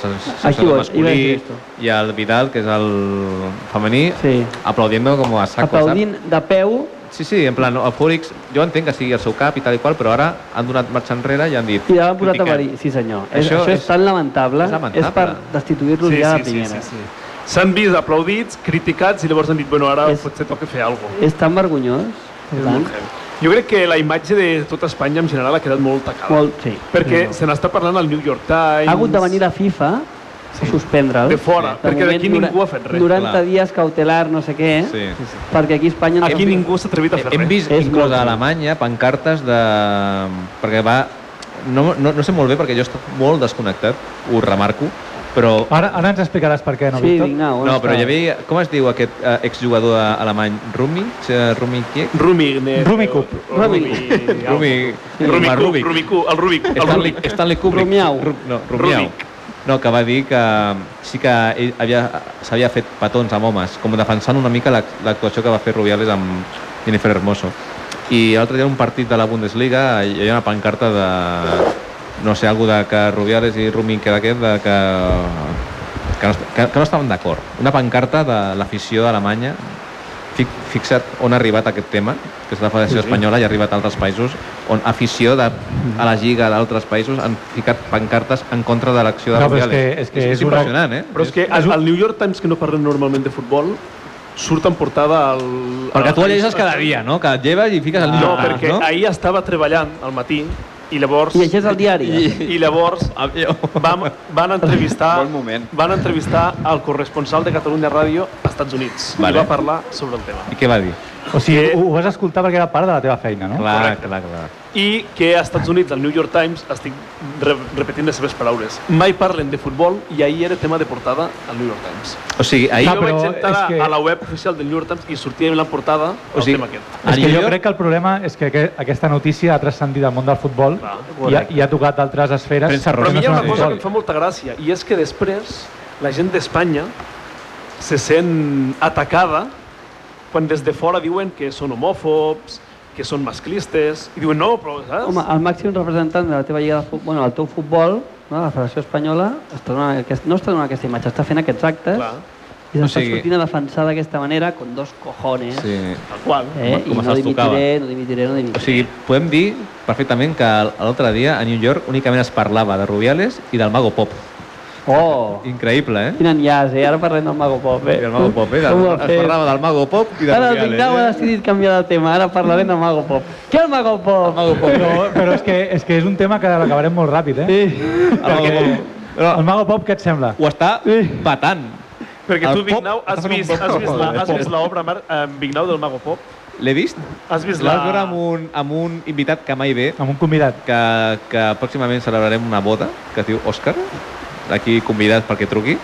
D: voy,
C: sensació
D: iba a
C: masculí,
D: decir esto.
C: i el Vidal, que és el femení,
D: Sí.
C: aplaudiendo com a saco,
D: Aplaudint de peu
C: saps? Sí, sí, en plan, el Fòrix, jo entenc que sigui el seu cap i tal i qual, però ara han donat marxa enrere i han dit...
D: i ja l'han posat a
C: critiquem.
D: parir. Sí, senyor. És,
C: Això
D: això,
C: és-
D: és tan lamentable.
C: és lamentable.
D: És per destituir-los ja a la primera.
A: S'han vist aplaudits, criticats i llavors han dit, bueno, ara
D: És-
A: potser toca fer alguna cosa.
D: És tan vergonyós. per tant.
A: Jo crec que la imatge de tota Espanya en general ha quedat molt tacada.
D: Molt, sí.
A: Perquè
D: Sí,
A: se n'està parlant al New York Times...
D: Ha hagut de venir la FIFA a suspendre'l.
A: De fora, perquè
D: moment,
A: d'aquí
D: dura-
A: ningú ha fet res,
D: 90
C: clar.
D: dies cautelar, no sé què,
C: Sí.
D: perquè aquí a Espanya... No
A: Aquí
D: s'ha fet.
A: ningú s'ha atrevit a fer
C: Hem
A: res.
C: vist
D: És
C: inclús
D: molt
C: a
D: greu.
C: Alemanya pancartes de... perquè va... No, no, no sé molt bé perquè jo estic molt desconnectat, ho remarco, però...
B: Ara, ara ens explicaràs per què, no,
D: Sí,
B: Víctor?
D: vinga, Ah, on
C: No, però
D: està?
C: hi havia... Com es diu aquest eh, exjugador a- alemany? Rumi? Eh, Rumi Kiek?
A: Rumi... ne-
B: Rumi Cup.
A: o- o Rumi...
C: Rumi...
A: Rumi
C: Roma
A: Cup,
C: Rubik.
A: Rumi Cup, el Rubik. El
C: Stanley,
A: Rubik.
C: Stanley Kubrick.
D: Rumiau.
C: Ru- no, Rumiau.
A: Rubik.
C: No, que va dir que sí que ell havia- s'havia fet petons amb homes, com defensant una mica l'ac- l'actuació que va fer Rubiales amb Jennifer Hermoso. I l'altre dia en un partit de la Bundesliga hi havia una pancarta de... no sé, algo de que Rubiales i Rumi que d'aquest, de que que no, est- que, que no estaven d'acord. Una pancarta de l'afició d'Alemanya Fi- fixa't on ha arribat aquest tema, que és la Federació Espanyola i ha arribat a altres països, on afició de, a la Lliga d'altres països han ficat pancartes en contra de l'acció de
B: No, però és
C: Rubiales.
B: que- és que és una-
C: impressionant, eh?
A: Però és que al, al New York Times, que no parlen normalment de futbol, surt en portada al...
C: Perquè tu
A: al-
C: el llegeixes cada dia, no? Que et lleves i fiques el
A: No,
C: llibre,
A: perquè
C: no?
A: ahir estava treballant al matí i llavors...
D: Llegeix el diari.
A: I llavors
C: Avió.
A: vam, van entrevistar...
E: Bon moment.
A: Van entrevistar el corresponsal de Catalunya Ràdio a Estats Units.
C: Vale.
A: I va parlar sobre el tema.
C: I què va dir?
B: O sigui, ho, ho vas escoltar perquè era part de la teva feina, no?
C: clar,
A: correcte.
C: clar, clar.
A: I que a Estats Units, al New York Times, estic re repetint les seves paraules, mai parlen de futbol i ahir era tema de portada al New York Times.
C: O sigui,
A: Ahir
B: Clar,
C: ahir...
A: jo vaig
B: però
A: entrar
B: és que-
A: a la web oficial del New York Times i sortia en la portada el
C: O sigui,
A: tema aquest.
C: a
B: És que
C: New
B: jo
C: York-
B: crec que el problema és que aqu- aquesta notícia ha transcendit el món del futbol
A: Clar,
B: i ha, i ha tocat altres esferes
C: Premsa
B: que
C: rosa.
A: Però a mi hi ha
B: són
A: una
B: el
A: cosa que em
B: futbol.
A: fa molta gràcia, i és que després la gent d'Espanya se sent atacada quan des de fora diuen que són homòfobs, que són masclistes, i diuen no, però saps?
D: Home, el màxim representant de la teva lliga de futbol, bueno, el teu futbol, no, la Federació Espanyola, està donant aquest, no està donant aquesta imatge, està fent aquests actes
A: Clar,
D: i s'està
C: O sigui-
D: sortint a defensar d'aquesta manera con dos cojones.
C: Sí.
A: tal qual.
D: Eh?
C: Com
D: I
C: se
D: no
C: les
D: dimitiré, no dimitiré, no dimitiré.
C: O sigui, podem dir perfectament que l'altre dia a New York únicament es parlava de Rubiales i del Mago Pop.
D: Oh,
C: Increïble, eh?
D: quin enllaç, eh? Ara parlem del Mago Pop, eh?
C: I el Mago Pop, eh?
D: Com ho ha
C: Es
D: fet?
C: parlava del Mago Pop i de
D: Ara el
C: Rubiales.
D: Vignau ha
C: eh?
D: decidit canviar de tema, ara parlarem del Mago Pop. Què el Mago Pop? El Mago Pop.
B: Però, però és, que, és que és un tema que l'acabarem molt ràpid, eh?
D: Sí.
C: El Mago Pop.
B: El Mago Pop, què et sembla?
C: ho està patant.
A: Perquè
C: El
A: tu,
C: pop
A: Vignau, has
C: està fent un
A: vist,
C: pop.
A: has vist, la, has
C: Pop.
A: vist l'obra Mar- eh, Vignau del Mago Pop?
C: L'he vist?
A: Has vist la...
C: L'has veure amb un, amb un invitat que mai ve,
B: Amb un convidat.
C: que, que pròximament celebrarem una boda que es diu Òscar, aquí convidat perquè truqui.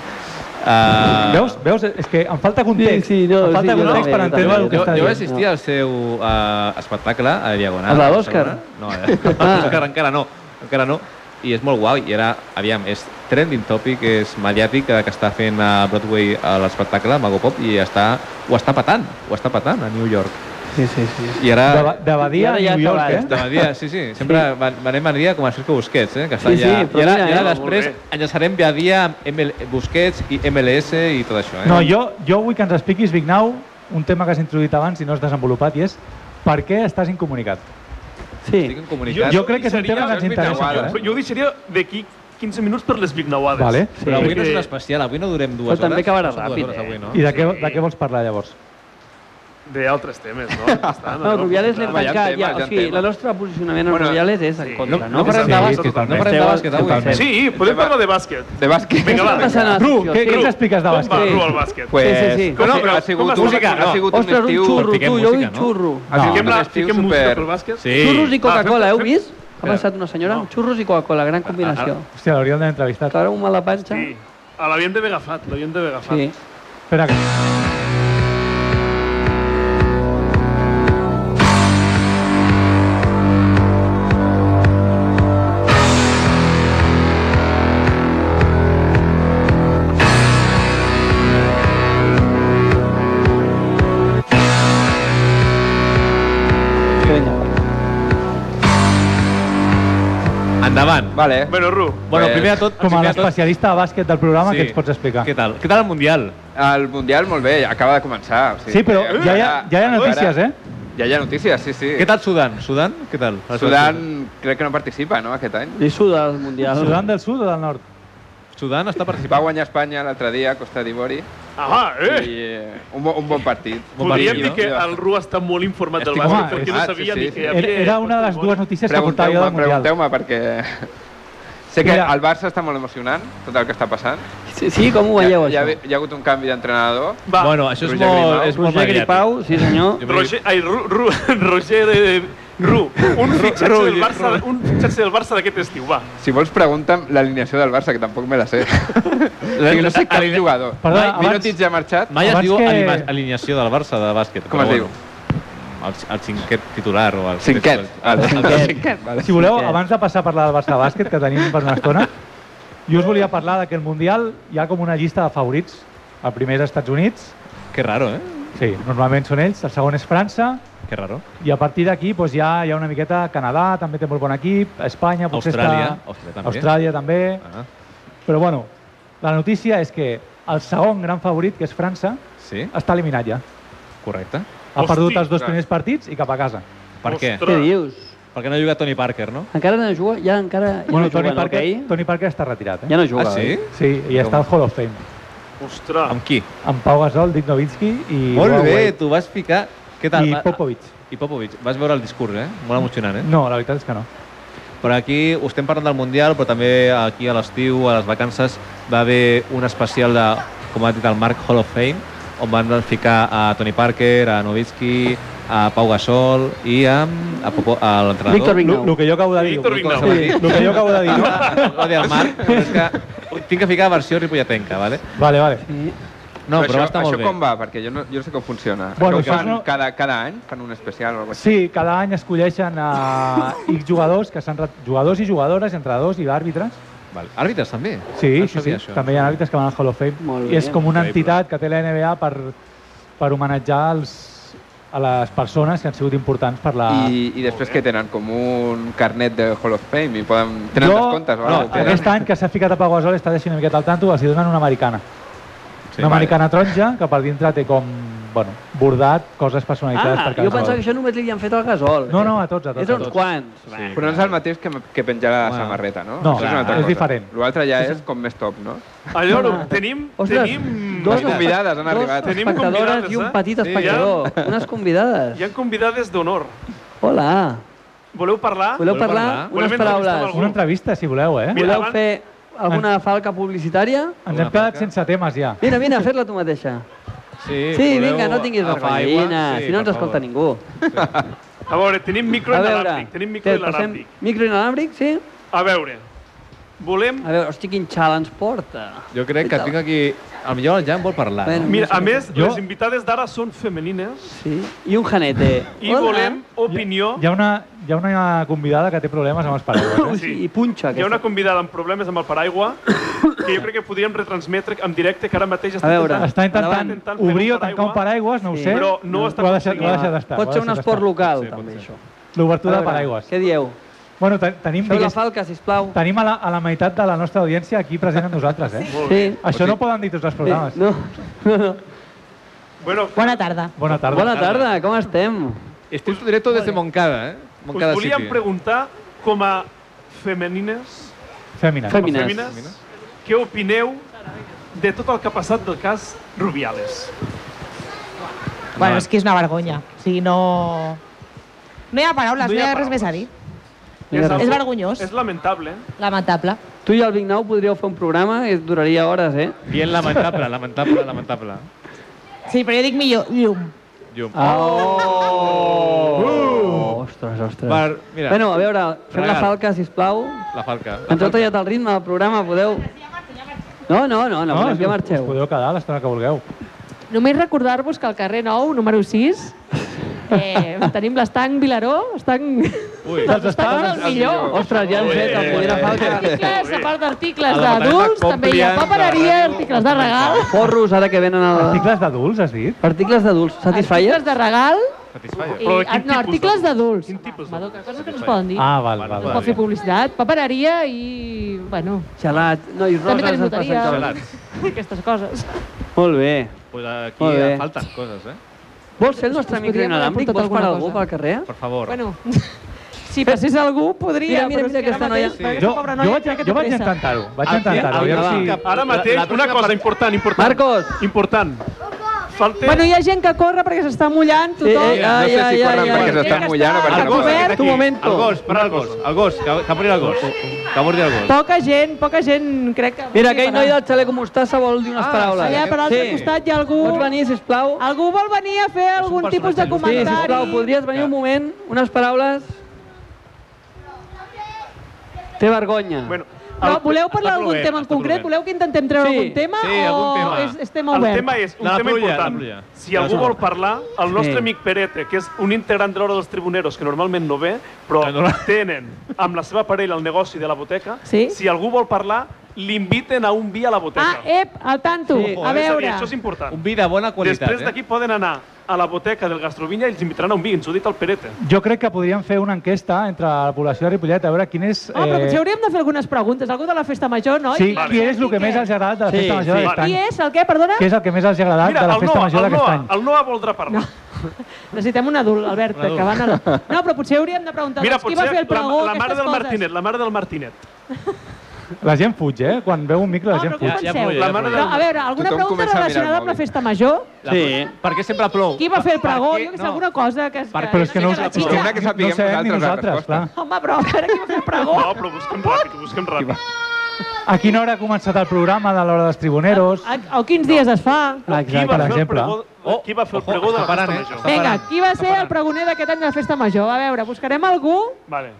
A: Ah.
C: Uh,
B: Veus? Veus? És que em falta
D: Sí,
B: context.
D: sí, no,
B: em falta
D: sí, jo
B: context
D: també,
B: per
D: jo
B: entendre
D: també,
B: el que
C: Jo,
B: està
C: jo vaig
B: dient.
C: assistir
D: no.
C: al seu uh, espectacle a Diagonal.
D: El de
C: a
D: l'Òscar?
C: Barcelona. No, eh? l'Òscar encara no, encara no. I és molt guai, i era, aviam, és trending topic, és mediàtic, eh, que està fent a Broadway a l'espectacle, Mago Pop, i està, ho està patant, ho està patant a New York.
D: Sí, sí, sí.
C: I ara...
B: De, Ba- de Badia
D: ara
B: a
D: ja
B: New York,
D: està
B: eh?
C: De Badia, sí, sí, sempre
D: Sí.
C: sí. anem a Badia com a Sergio Busquets, eh, que està
D: Sí, sí,
C: allà.
D: però
C: I ara,
D: mira,
C: i ara
D: eh?
C: després
A: Molt bé.
C: enllaçarem Badia amb ML, Busquets i MLS i tot això. Eh?
B: No, jo, jo vull que ens expliquis, Vignau, un tema que has introduït abans i no has desenvolupat, i és per què estàs incomunicat?
D: sí.
C: Estic incomunicat.
B: Jo crec que és un tema que ens interessa. eh?
E: Vignauada,
B: molt,
C: eh?
A: Jo, jo deixaria d'aquí 15 minuts per les Vignauades.
B: Vale.
D: Sí.
C: Però avui no és
A: Perquè-
C: un especial, avui no durem dues
D: Però
C: hores.
D: també acabarà
C: Són dues
D: ràpid,
C: hores
D: eh?
C: Avui, no?
B: I de què,
A: Sí.
B: de què vols parlar, llavors?
A: D'altres temes, no? Ja està,
D: No, Rubiales
A: Ah,
D: l'hem
E: Home, ja en
D: tancat
E: tema,
D: ja.
E: ja
D: O
E: en
D: sigui,
E: tema.
D: el nostre posicionament en
E: Bueno,
D: Rubiales és en
A: sí.
C: No,
D: contra,
C: no
D: no?
C: parlem
B: Sí,
C: de bàsquet,
B: totalment.
C: no parlem de bàsquet avui. eh?
D: Totalment.
A: Sí, podem
E: Tema-
A: parlar de bàsquet.
E: De bàsquet.
A: Vinga, va.
D: Què està passant?
B: Bru, què, què
D: Sí.
B: ens expliques de
A: Com va,
B: bàsquet?
A: Ru, el bàsquet?
E: Pues,
D: Sí, sí, sí.
E: Com,
A: No,
E: no,
A: però
E: ha sigut,
A: com es
E: un,
A: música,
E: ha
A: no.
E: sigut un
D: Ostres, un
E: estiu...
D: xurro,
C: Fiquem
D: tu, jo
C: música,
D: vull
C: no?
D: xurro.
E: Ha sigut
A: Fiquem,
E: un
A: la,
E: estiu
A: fiquem música
E: super...
A: per bàsquet?
C: Sí.
D: Xurros i Coca-Cola,
A: Ah,
D: heu
A: fem-
D: vist? Ha
C: Espera.
D: passat una senyora amb xurros i Coca-Cola, gran combinació.
B: Hòstia, l'hauríem d'haver entrevistat.
D: Ara un mal a panxa.
A: Sí. A L'havíem d'haver agafat, l'havíem d'haver agafat.
D: Sí.
B: Espera que...
D: Que vinga.
C: Endavant.
E: Vale.
A: Bueno, Ru,
C: Bueno,
E: Pues,
C: primer de tot...
B: Com a
C: primer de tot-
B: l'especialista de bàsquet del programa,
C: Sí.
B: què ens pots explicar?
C: Què tal? Què tal el Mundial?
E: El Mundial, molt bé, acaba de començar. O sigui,
B: Sí, però
E: que
B: ja hi ha,
E: encara-
B: ja hi ha
E: encara-
B: notícies, eh?
E: Ja hi ha notícies, sí, sí.
C: Què tal Sudan? Sudan? Què tal?
E: Sudan crec que no participa, no, aquest any?
D: Li suda el Mundial.
B: Sudan del sud o del nord?
C: Sudan està
E: Va
C: participant.
E: guanyar Espanya l'altre dia a Costa d'Ivori
A: Ah, eh!
E: i eh, un, bo, un bon partit.
C: Bon
A: Podríem
C: partit,
A: dir
C: no?
A: que el Ru està molt informat del
B: Estic
A: bàsquet,
B: molt
A: perquè no
E: informat,
A: sabia
E: sí,
A: ni
E: sí.
A: que hi
B: Era,
A: havia...
B: era una de les dues
A: basquetbol.
B: notícies que portava jo
E: Pregunteu-me
B: del Mundial.
E: pregunteu perquè... Sé que
B: Mira.
E: el Barça està molt emocionant, tot el que està passant.
D: Sí, sí, com ho veieu,
E: hi, ha,
D: això?
E: hi ha hagut un canvi d'entrenador.
A: Va,
C: Bueno, això és
E: Roger
C: molt,
E: Grimau.
C: és molt eh?
D: Roger
C: mediàtic.
D: Gripau, sí senyor.
A: Roger, ai, Ru, Ru, Roger, eh, Ru, un fitxatge
C: Ru,
A: del Barça,
C: Ru.
A: un fitxatge del Barça d'aquest estiu, va.
E: Si vols, pregunta'm l'alineació del Barça, que tampoc me la sé. o sigui, no sé cap
C: Aline-
E: jugador.
B: Perdona,
E: Mai-
B: abans-
E: Mirotic ja ha marxat.
C: Mai es
B: Abans
C: diu
B: que-
C: alima- alineació del Barça de bàsquet.
E: Com
C: però
E: es diu?
C: El, el cinquè titular o el...
E: Cinquet. El, el, el cinquet, vale.
B: Si voleu, abans de passar a parlar del Barça Bàsquet, que tenim per una estona, jo us volia parlar de que el Mundial hi ha com una llista de favorits. El primer és Estats Units,
C: Que raro, eh?
B: sí, normalment són ells, el segon és França,
C: Que raro.
B: i a partir d'aquí doncs, hi, ha, hi ha una miqueta Canadà, també té molt bon equip, Espanya, potser
C: Austràlia,
B: està... Austràlia
C: Austràlia també.
B: també.
C: Ah,
B: Però bueno, la notícia és que el segon gran favorit, que és França,
C: sí,
B: està eliminat ja.
C: correcte.
B: Ha
A: Hosti,
B: perdut els dos
E: clar.
B: primers partits i cap a casa.
C: Per què?
A: Ostres.
D: Què dius?
C: Perquè no ha jugat Tony Parker, no?
D: Encara no juga? Ja encara ja
C: Doncs
B: bueno,
D: no juga,
B: Tony
D: no,
B: Parker,
D: okay?
B: Tony Parker està retirat, eh?
D: Ja no juga.
C: ah, sí?
D: oi?
B: Sí, i està al Hall of Fame.
A: Ostres.
C: Amb qui?
B: amb Pau Gasol, Dick Nowitzki i
C: Molt bé,
B: Huawei.
C: tu vas ficar... Què tal?
B: i
C: Va-
B: Popovic.
C: I Popovic, vas veure el discurs, eh? Molt emocionant, eh?
B: No, la veritat és que no.
C: Per aquí ho estem parlant del Mundial, però també aquí a l'estiu, a les vacances, va haver un especial de, com ha dit el Marc, Hall of Fame, on van ficar a Tony Parker, a Nowitzki, a Pau Gasol i a, a, Popo, a
D: Víctor
C: l'entrenador.
D: Vignau.
B: El que jo acabo de dir,
A: Víctor
B: el
A: Vignau.
B: que jo acabo de dir, no?
C: Va dir el Marc, però és que tinc que ficar versió ripollatenca, vale?
B: Vale, vale.
D: Sí.
C: No, però,
E: això,
C: va estar molt
E: això
C: bé.
E: com va? Perquè jo no, jo no sé com funciona.
B: Bueno,
E: Això ho
B: això
E: fan
B: no-
E: cada, cada any fan un especial o alguna cosa així.
B: Sí, cada any escolleixen a X jugadors, que s'han re- jugadors i jugadores, entrenadors i àrbitres.
C: Vale. Àrbitres també?
B: Sí,
C: No
B: sí, sí.
C: sabia això.
B: També hi ha àrbitres que van al Hall of Fame.
D: Molt
B: I és
D: bé.
B: com una
C: Increïble.
B: entitat que té la NBA per, per homenatjar els, a les persones que han sigut importants per la...
E: I, I després que tenen com un carnet de Hall of Fame i poden... Tenen descomptes o
B: no,
E: alguna cosa?
B: aquest any que s'ha ficat a Pau Gasol està deixant una miqueta al tanto, els hi donen una americana.
C: Sí,
B: Sí, una
E: vale.
B: americana taronja que per dintre té com, bueno, bordat, coses personalitzades
D: Ah,
B: per
D: jo
B: cadascú.
D: pensava que això només li havien fet al Gasol.
B: No, no, a tots, a tots,
D: És a
B: a
D: uns
B: tots.
D: quants.
C: Sí.
E: Però no és el mateix que, que penjar la
C: Bueno.
E: samarreta, no?
B: No,
E: Això és, una altra
B: és
E: cosa.
B: diferent.
E: L'altre ja és com més top, no?
A: Allò, no, tenim,
D: Ostres,
A: tenim...
D: dos
E: Les convidades han
D: dos
E: arribat.
A: Tenim
D: espectadores
A: convidades,
D: i un
A: eh?
D: petit
A: Sí.
D: espectador. Unes convidades.
A: Hi ha convidades d'honor.
D: Hola.
A: Voleu parlar?
D: Voleu
C: Voleu
D: parlar?
C: parlar?
A: Volem
D: Unes
A: entrevistar
D: paraules.
A: algú?
B: Una entrevista, si voleu, eh?
A: Mira,
D: Voleu
A: abans-
D: fer... alguna falca publicitària?
B: Ens hem
C: Una
B: quedat
C: falca.
B: sense temes ja.
D: Vine, vine, fer-la tu mateixa.
C: Sí,
D: Sí,
C: voleu
D: vinga, no tinguis
C: agafar aigua?
D: vergonya, si no
C: per
D: ens escolta
C: favor.
D: ningú.
A: A veure, tenim micro
D: A veure,
A: inalàmbric. Tenim micro
D: Ted, passem
A: inalàmbric.
D: micro inalàmbric, sí?
A: A veure, volem...
B: Ah,
D: A veure, hosti, quin challenge porta.
C: Jo crec que tinc aquí... A millor el Jan vol parlar.
D: Bueno.
C: No?
A: Mira, a més,
B: Jo-
A: les invitades d'ara són femenines
D: Sí, i un janete.
A: i volem opinió...
B: Hi ha, una, hi ha una convidada que té problemes amb els paraigües.
D: Ui,
B: Eh?
D: sí, I
A: Hi
D: punxa,
A: ha
D: aquesta.
A: una convidada amb problemes amb el paraigua que jo crec que podríem retransmetre en directe que ara mateix està
D: A veure.
A: intentant-
B: Està intentant
D: Davant.
B: obrir o tancar un paraigües, no ho
D: Sí.
B: sé.
A: Però no ho està
B: ho ha deixat, ho ha
A: aconseguint.
B: deixat estar. ho
D: Pot
B: ha
D: ser un
B: deixat
D: esport
B: estar.
D: local,
C: Sí, pot
D: també,
C: ser.
D: això.
B: L'obertura
D: A
B: de
D: veure,
B: paraigües.
D: Què dieu?
B: Bueno, te- tenim,
D: Feu la
B: digués,
D: falca, sisplau.
B: tenim a la, a la meitat de la nostra audiència aquí present amb nosaltres, eh?
D: Sí.
B: Això no ho poden dir tots els
D: sí.
B: programes.
D: No.
A: Bueno,
G: Bona tarda.
B: Bona tarda.
D: Bona tarda, com estem?
C: Estem directo des de Moncada, eh?
A: us
C: Moncada
A: volíem
C: City.
A: preguntar com a femenines,
B: Fèmines.
A: com a
D: Fèmines.
A: fèmines, què opineu de tot el que ha passat del cas Rubiales?
G: Bueno, és que és una vergonya. O sigui, no... No hi ha paraules, no
A: No hi
G: hi
A: ha
G: ha, res
A: paraules.
G: més a dir.
D: Mira,
A: algo-
G: És vergonyós.
A: És lamentable.
G: Lamentable.
D: Tu i el Vignau podríeu fer un programa que duraria hores, eh?
C: Bien lamentable, lamentable, lamentable.
G: Sí, però jo dic millor llum.
C: Llum.
D: Ah, Oh! Ostres, ostres.
C: Per, mira,
D: Bueno, a veure, fem la
C: Regal.
D: falca, sisplau.
C: la falca.
D: Ens heu tallat el ritme del programa, podeu... No, no, no, no, volem
B: us-
D: que
B: Us
D: marxeu.
B: podeu quedar l'estona que vulgueu.
H: Només recordar-vos que al carrer 9, número 6, eh, tenim l'estanc Vilaró, estanc...
C: Ui,
B: Els
H: Estanc
B: estàs?
H: del Doncs millor.
D: Ostres, ja hem fet la primera falca.
H: Articles, a part
C: A
H: d'articles
C: la pantalla
H: d'adults, també hi ha
C: compliance,
H: papereria,
C: de ràdio.
H: articles de regal,
D: Porros, ara que venen el...
B: Articles d'adults, has dit?
D: Articles d'adults, Satisfyer?
H: articles de regal,
A: Però
C: satisfyer.
H: i,
A: de quin
H: Eh, ah, no,
A: tipus
H: articles
A: d'adults?
H: d'adults.
A: Quin tipus
H: Home,
A: d'adults?
H: Coses que no es poden dir.
B: Ah, val, val.
H: No
B: val.
H: pot fer publicitat, papereria i... bueno,
D: Xalat, nois roses,
H: També tenim
D: ens
H: loteria.
D: passem
C: Gelats.
H: aquestes coses.
D: Molt bé.
C: Pues aquí
D: Molt bé.
C: falten coses, eh?
D: Vols ser el nostre
H: Us
D: micro
H: podríem haver
D: inalàmbric?
H: portat
D: Vols parar
H: alguna
D: algú
H: cosa.
D: pel carrer?
C: Per favor.
H: Bueno, si passés algú, podria,
D: Mira, mira, mira
H: però és que
D: aquesta
H: ara mateix...
D: noia.
H: aquesta
B: Jo,
H: pobra
B: jo
H: noia
B: vaig,
H: crec que té
B: jo vaig
H: pressa.
B: intentar-ho,
C: Ah,
D: Ah,
B: vaig intentar-ho.
D: Aviam,
B: aviam si-
D: aviam.
A: Ara mateix, una cosa important, important.
D: Marcos!
A: Important. Falta...
H: Bueno, hi ha gent que corre perquè s'està mullant, tothom.
D: Eh, eh,
E: no sé
D: ai, ai,
E: si corren
D: ai,
E: perquè
D: ai.
E: s'estan mullant o
H: Al
E: perquè no
H: govern.
E: poden.
D: Tu momento.
C: El gos, para el gos. El gos, que, que mori el gos. Que mori el gos.
H: Poca gent, poca gent, crec que...
D: Mira, aquell noi del xaleco mostassa vol dir unes paraules.
H: Allà Ah, per l'altre sí. costat hi ha algú...
D: Pots venir, sisplau?
H: Algú vol venir a fer algun tipus de
D: Sí,
H: comentari?
D: sisplau, podries venir un moment? Unes paraules? Té vergonya.
A: Bueno,
H: No, voleu parlar
C: està
H: d'algun
C: plovent,
H: tema en
C: està
H: concret?
C: plovent.
H: Voleu que intentem treure
D: Sí,
H: algun tema?
C: sí,
H: o
C: algun tema.
H: És, estem
A: El
H: oberts?
A: tema és un
C: La
A: tema
C: pluja, la
A: important.
C: pluja.
A: Si algú vol parlar, el nostre
D: Sí.
A: amic Perete, que és un integrant de l'hora dels tribuneros, que normalment no ve, però
C: Que no la-
A: tenen amb la seva parella el negoci de la boteca,
H: Sí.
A: si algú vol parlar, l'inviten a un vi a la boteca.
H: Ah, ep, al tanto,
D: Sí.
H: a
A: És a
H: veure.
A: dir, això és important.
C: Un vi de bona qualitat, eh?
A: Després d'aquí poden anar a la boteca del Gastrovinya i els invitaran a un vi, ens ho ha dit el Perete.
B: Jo crec que podríem fer una enquesta entre la població de Ripollet a veure quin és...
D: Ah,
H: Home, però
B: eh,
H: potser hauríem de fer algunes preguntes. Algú de la festa major, no?
B: Sí,
H: I-
B: qui és el que més els ha agradat de la
D: Sí,
B: festa major
A: sí.
B: d'aquest
H: Qui
B: any?
H: és? El què? Perdona?
B: Què és el que més els ha agradat de la
A: el
B: festa
A: Noah,
B: major
A: el Noah,
B: d'aquest any?
A: el Noah voldrà parlar.
H: Necessitem un adult, Albert,
C: Un adult.
H: que van a... No, però potser hauríem de preguntar
A: Mira,
H: doncs, qui
A: potser
H: va fer
A: la,
H: el pregó,
A: la mare
H: aquestes
A: del
H: coses.
A: Martinet, la mare del Martinet.
B: La gent fuig, eh? Quan veu un micro, la
H: No,
B: gent
H: però
B: fuig.
H: com
C: Ja- ja
H: penseu?
C: vull, ja
A: La mare
H: Però, a veure, alguna
E: Tothom comença
H: pregunta
E: a mirar el
H: relacionada amb la
E: mòbil.
H: festa major?
D: Sí.
C: Per què sempre plou?
H: Qui va fer el
C: Per
H: pregó?
C: què-
H: Jo que sé,
C: no.
H: alguna cosa que...
C: Per-
B: Però és que no,
H: una mica
E: és
H: de
E: que
H: xitxa.
E: una que sapiguem
B: no sabem ni
E: nosaltres la
B: nosaltres, clar.
E: resposta.
H: Home, però a veure qui va fer el pregó.
A: No, però busquem ràpid, busquem ràpid.
B: A quina hora ha començat el programa de l'hora dels tribuneros?
H: A- O quins dies es fa?
A: Qui va
B: per
A: fer el
B: exemple. Oh,
A: pregó, qui va fer el pregó de la festa
C: eh?
A: major?
C: Està
H: Vinga,
C: parant.
H: qui va ser el pregoner d'aquest any de la festa major? A veure, buscarem algú,
A: Vale.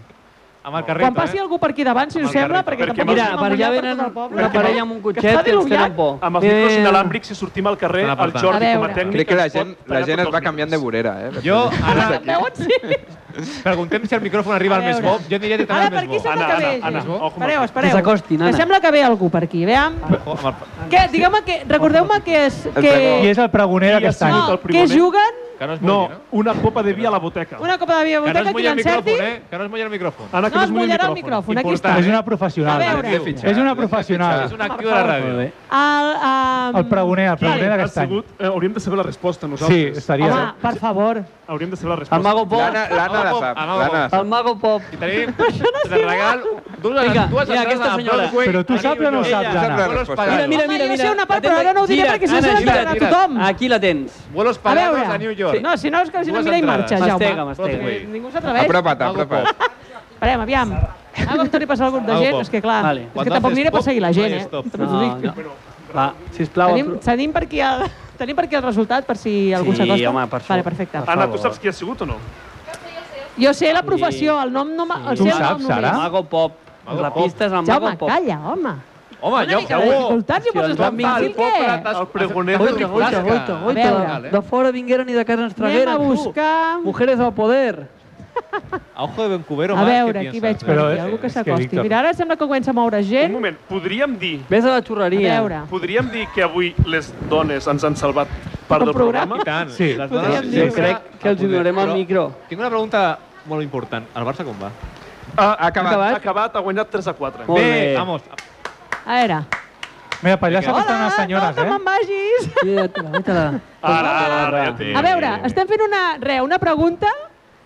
C: Amb el carrer,
H: quan passi algú per aquí davant, si us
A: el
H: sembla,
A: carrito.
H: perquè
A: Perquè m'ha-
H: tampoc ens
D: Mira,
H: anem a
D: per allà
H: mullar
D: venen
H: tot el poble.
D: una parella amb un
H: Que
D: cotxet
H: està
D: que ens tenen
H: diluviant.
D: por.
A: Amb els micros
D: Eh,
A: inalàmbrics, si sortim al carrer,
C: Estan
A: el
C: apuntant.
A: Jordi
H: A
A: com a
H: veure.
A: tècnic...
E: Crec que la
A: ens pot
E: gent, la
A: tallar
E: gent
A: tots
E: es
A: els
E: va
A: micros.
E: canviant de vorera, eh?
C: Jo, ara,
H: Veuen? Sí.
C: preguntem si el micròfon arriba al
H: A
C: més
H: veure.
C: bob. Jo aniria directament
H: Ara
C: al
H: per
C: més
H: aquí
C: bob.
H: sembla
A: Anna,
H: que ve.
A: Anna, Anna,
H: gent.
A: ojo amb
H: Espereu,
A: això.
H: espereu.
D: Que s'acostin, Anna.
H: Que sembla que ve algú per aquí, veam.
C: Ojo, amb el-
H: Què? Digue'm que... Recordeu-me que és... Que...
E: pregó.
B: Qui és el pregoner
A: Qui ha
B: d'aquest any?
A: sigut
H: No,
A: el
H: que
A: pregoner?
H: juguen
C: Que no es mulli,
A: No,
C: no?
A: una copa de vi a la boteca.
H: una copa de
C: Que
H: via
C: no es
H: boteca, qui
C: mulli el
H: l'encerti...
C: micròfon, eh? Que no es mulli el micròfon.
A: Anna,
H: No es
A: mulli
H: mullarà el micròfon, aquí està.
C: Important,
B: És una
H: A
B: professional.
H: veure.
B: És una
C: És
B: professional.
C: un actiu de la ràdio.
H: El, um...
B: El pregoner, el pregoner
A: Ha
B: d'aquest any.
A: sigut, eh, hauríem de saber la resposta
B: Sí,
A: nosaltres.
B: estaria...
H: Home, per favor.
A: Hauríem de saber la
D: El
A: resposta.
D: Mago Pop.
E: L'Anna l'Anna la sap,
C: Anava
E: l'Anna la
D: El
E: sap.
D: Mago Pop.
C: I tenim de regal dues,
D: Vinga,
C: dues
D: mira, aquesta
C: entrades a
D: senyora.
C: Broadway.
B: Però tu saps o no
C: Ella,
B: saps, Anna?
C: vuelos
E: Mira,
C: pagados.
D: Mira, mira, mira.
H: Home, jo
D: mira.
H: sé una part, però ara no ho diré perquè si no
D: Anna,
H: se la
D: gira't,
H: tragarà
D: gira't.
H: tothom.
D: Aquí la tens.
C: Vuelos
H: A
C: pagados a New
H: veure.
C: York.
H: No, si no, és que si no
C: Dues
H: mira i marxa,
C: entrades.
H: Jaume.
D: Mastega, mastega.
H: Ningú s'atreveix.
E: Apropa't,
C: Mago
E: apropa't.
C: Pop.
H: Esperem, aviam. Ah, com torni a passar algun de
C: Algo
H: gent,
C: pop.
H: és que clar,
D: Vale.
H: és
C: Quan
H: que tampoc
C: haces
H: aniré a
C: pop,
H: perseguir la gent,
C: no
H: eh?
C: hi stop.
H: També t'ho
D: No,
H: dic.
D: no. Va, sisplau,
H: Tenim, tenim, per aquí el, tenim per aquí el resultat, per si algú
D: Sí,
H: s'acosta?
D: home, per
H: Vale,
D: favor.
H: perfecte.
D: Per
A: Anna, tu
D: favor.
A: saps qui ha sigut o no?
H: Jo sé la professió, el nom no... Ah, Sí. El
B: Tu
H: seu
B: saps,
H: nom només.
B: Sara?
D: Mago Pop.
C: Mago
D: la
C: Pop.
D: pista és el Mago
G: Jaume,
D: Pop.
G: calla, home.
C: Home,
H: Una
C: jo...
H: mica de dificultats i
D: Si el
H: poses
D: Joan
H: d'imbècil,
D: Miguel
H: què?
A: El pregoner de
D: Goita, goita,
A: Riflasca.
D: goita, goita.
G: veure.
D: De fora vingueren i de casa ens
H: Anem
D: tragueren.
H: a
D: tu.
H: buscar...
D: Mujeres al poder.
C: A ojo de Bencubero,
H: A
C: Marc, què
H: veure, aquí
C: piensas?
H: veig per
B: Però
H: aquí,
B: és-
H: algú que
B: és que,
H: s'acosti.
B: Víctor-
H: Mira, ara sembla que comença a moure
A: Un
H: gent.
A: moment, podríem dir,
D: Ves a la
H: A
D: xurreria.
H: veure,
A: podríem dir que avui les dones ens han salvat part
H: El
A: del programa?
C: I tant.
B: Sí.
C: les
D: Jo,
C: dones-
H: Podríem
D: jo
H: dir-ho.
D: crec que els hi donarem el
C: Però
D: micro.
C: Tinc una pregunta molt important. El Barça com va?
A: Ha
E: acabat.
A: Ha acabat, ha guanyat 3 a 4.
D: Molt bé.
C: vamos.
H: a veure.
B: Mira, per allà
H: Hola,
B: s'acosten unes
H: no,
B: senyores,
H: que me'n
B: eh?
H: vagis.
D: Mira-te-la, mira-te-la.
A: Ara, ara, ja té.
H: A veure, estem fent una, re, una pregunta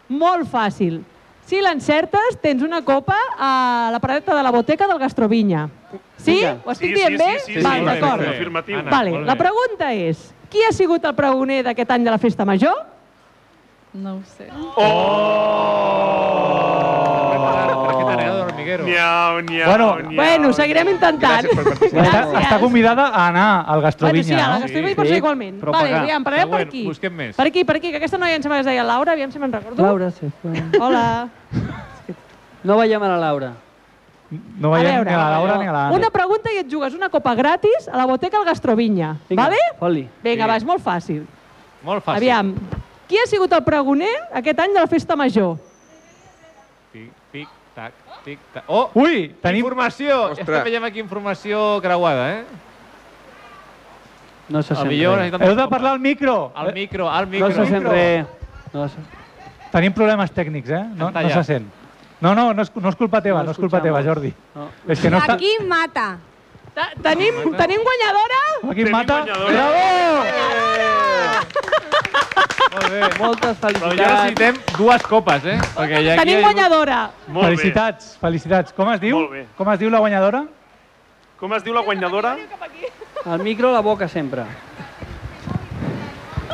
H: molt fàcil. Si l'encertes, tens una copa a la paradeta de la boteca del Gastrovinya. Sí?
D: Vinga.
H: Ho estic dient bé?
A: Sí, sí, sí,
H: Val,
A: sí,
H: d'acord.
A: sí, afirmatiu.
C: Anna,
H: Vale,
C: molt
H: la
C: bé.
H: pregunta és, qui ha sigut el pregoner d'aquest any de la Festa Major?
I: No ho sé.
C: Requetareo de hormiguero.
A: Miau, miau,
B: Bueno,
A: miau.
H: Bueno, seguirem intentant.
E: Gràcies per participar.
B: Està,
H: Gràcies.
B: està convidada a anar al
H: Bueno, sí,
B: Gastrovinya,
H: a la
B: no?
H: Gastrovinya hi pot
D: Sí,
H: ser igualment.
D: però
H: vale,
D: pagar.
H: aviam, parlem per
C: Següent,
H: aquí.
C: busquem més.
H: Per aquí, per aquí, que aquesta noia em sembla que es deia Laura, aviam si me'n recordo.
D: Laura, sí.
H: Hola.
D: No veiem a la Laura.
B: No veiem ni a la Laura ni a l'Anna.
H: Una pregunta i et jugues una copa gratis a la boteca al Gastrovinya,
D: Vinga,
H: vale?
D: Foli.
H: Vinga,
C: Sí.
H: va, és molt fàcil.
C: Molt fàcil.
H: Aviam, qui ha sigut el pregoner aquest any de la Festa Major?
C: Tic, tic, tac, tic, tac. Oh!
B: Ui, tenim...
C: Informació!
E: Ostres.
C: És que veiem aquí informació creuada, eh?
D: No se
C: El
D: sent
C: millor
D: res.
C: necessitem...
B: Heu de parlar al micro.
C: Al micro, al micro.
D: No se sent
B: micro.
D: res. No se...
B: Eh, Tenim problemes tècnics, eh? No,
C: Està
B: no
C: allà.
B: se sent. No, no, no és, no és culpa teva,
D: No
B: no és culpa
D: escuchamos.
B: teva, Jordi.
D: No.
B: És que no està...
J: Aquí mata.
H: Ta- Tenim, tenim guanyadora?
B: Aquí mata...
A: guanyadora.
C: Molt bé.
D: Moltes
C: Però ja
D: felicitats.
C: necessitem dues copes, eh? Perquè ja aquí hi ha
H: Tenim
C: hagut-
H: guanyadora.
A: Molt bé.
B: felicitats, felicitats. Com es diu?
A: Molt bé.
B: Com es diu la guanyadora?
A: Com es diu la guanyadora?
D: El micro a la boca sempre.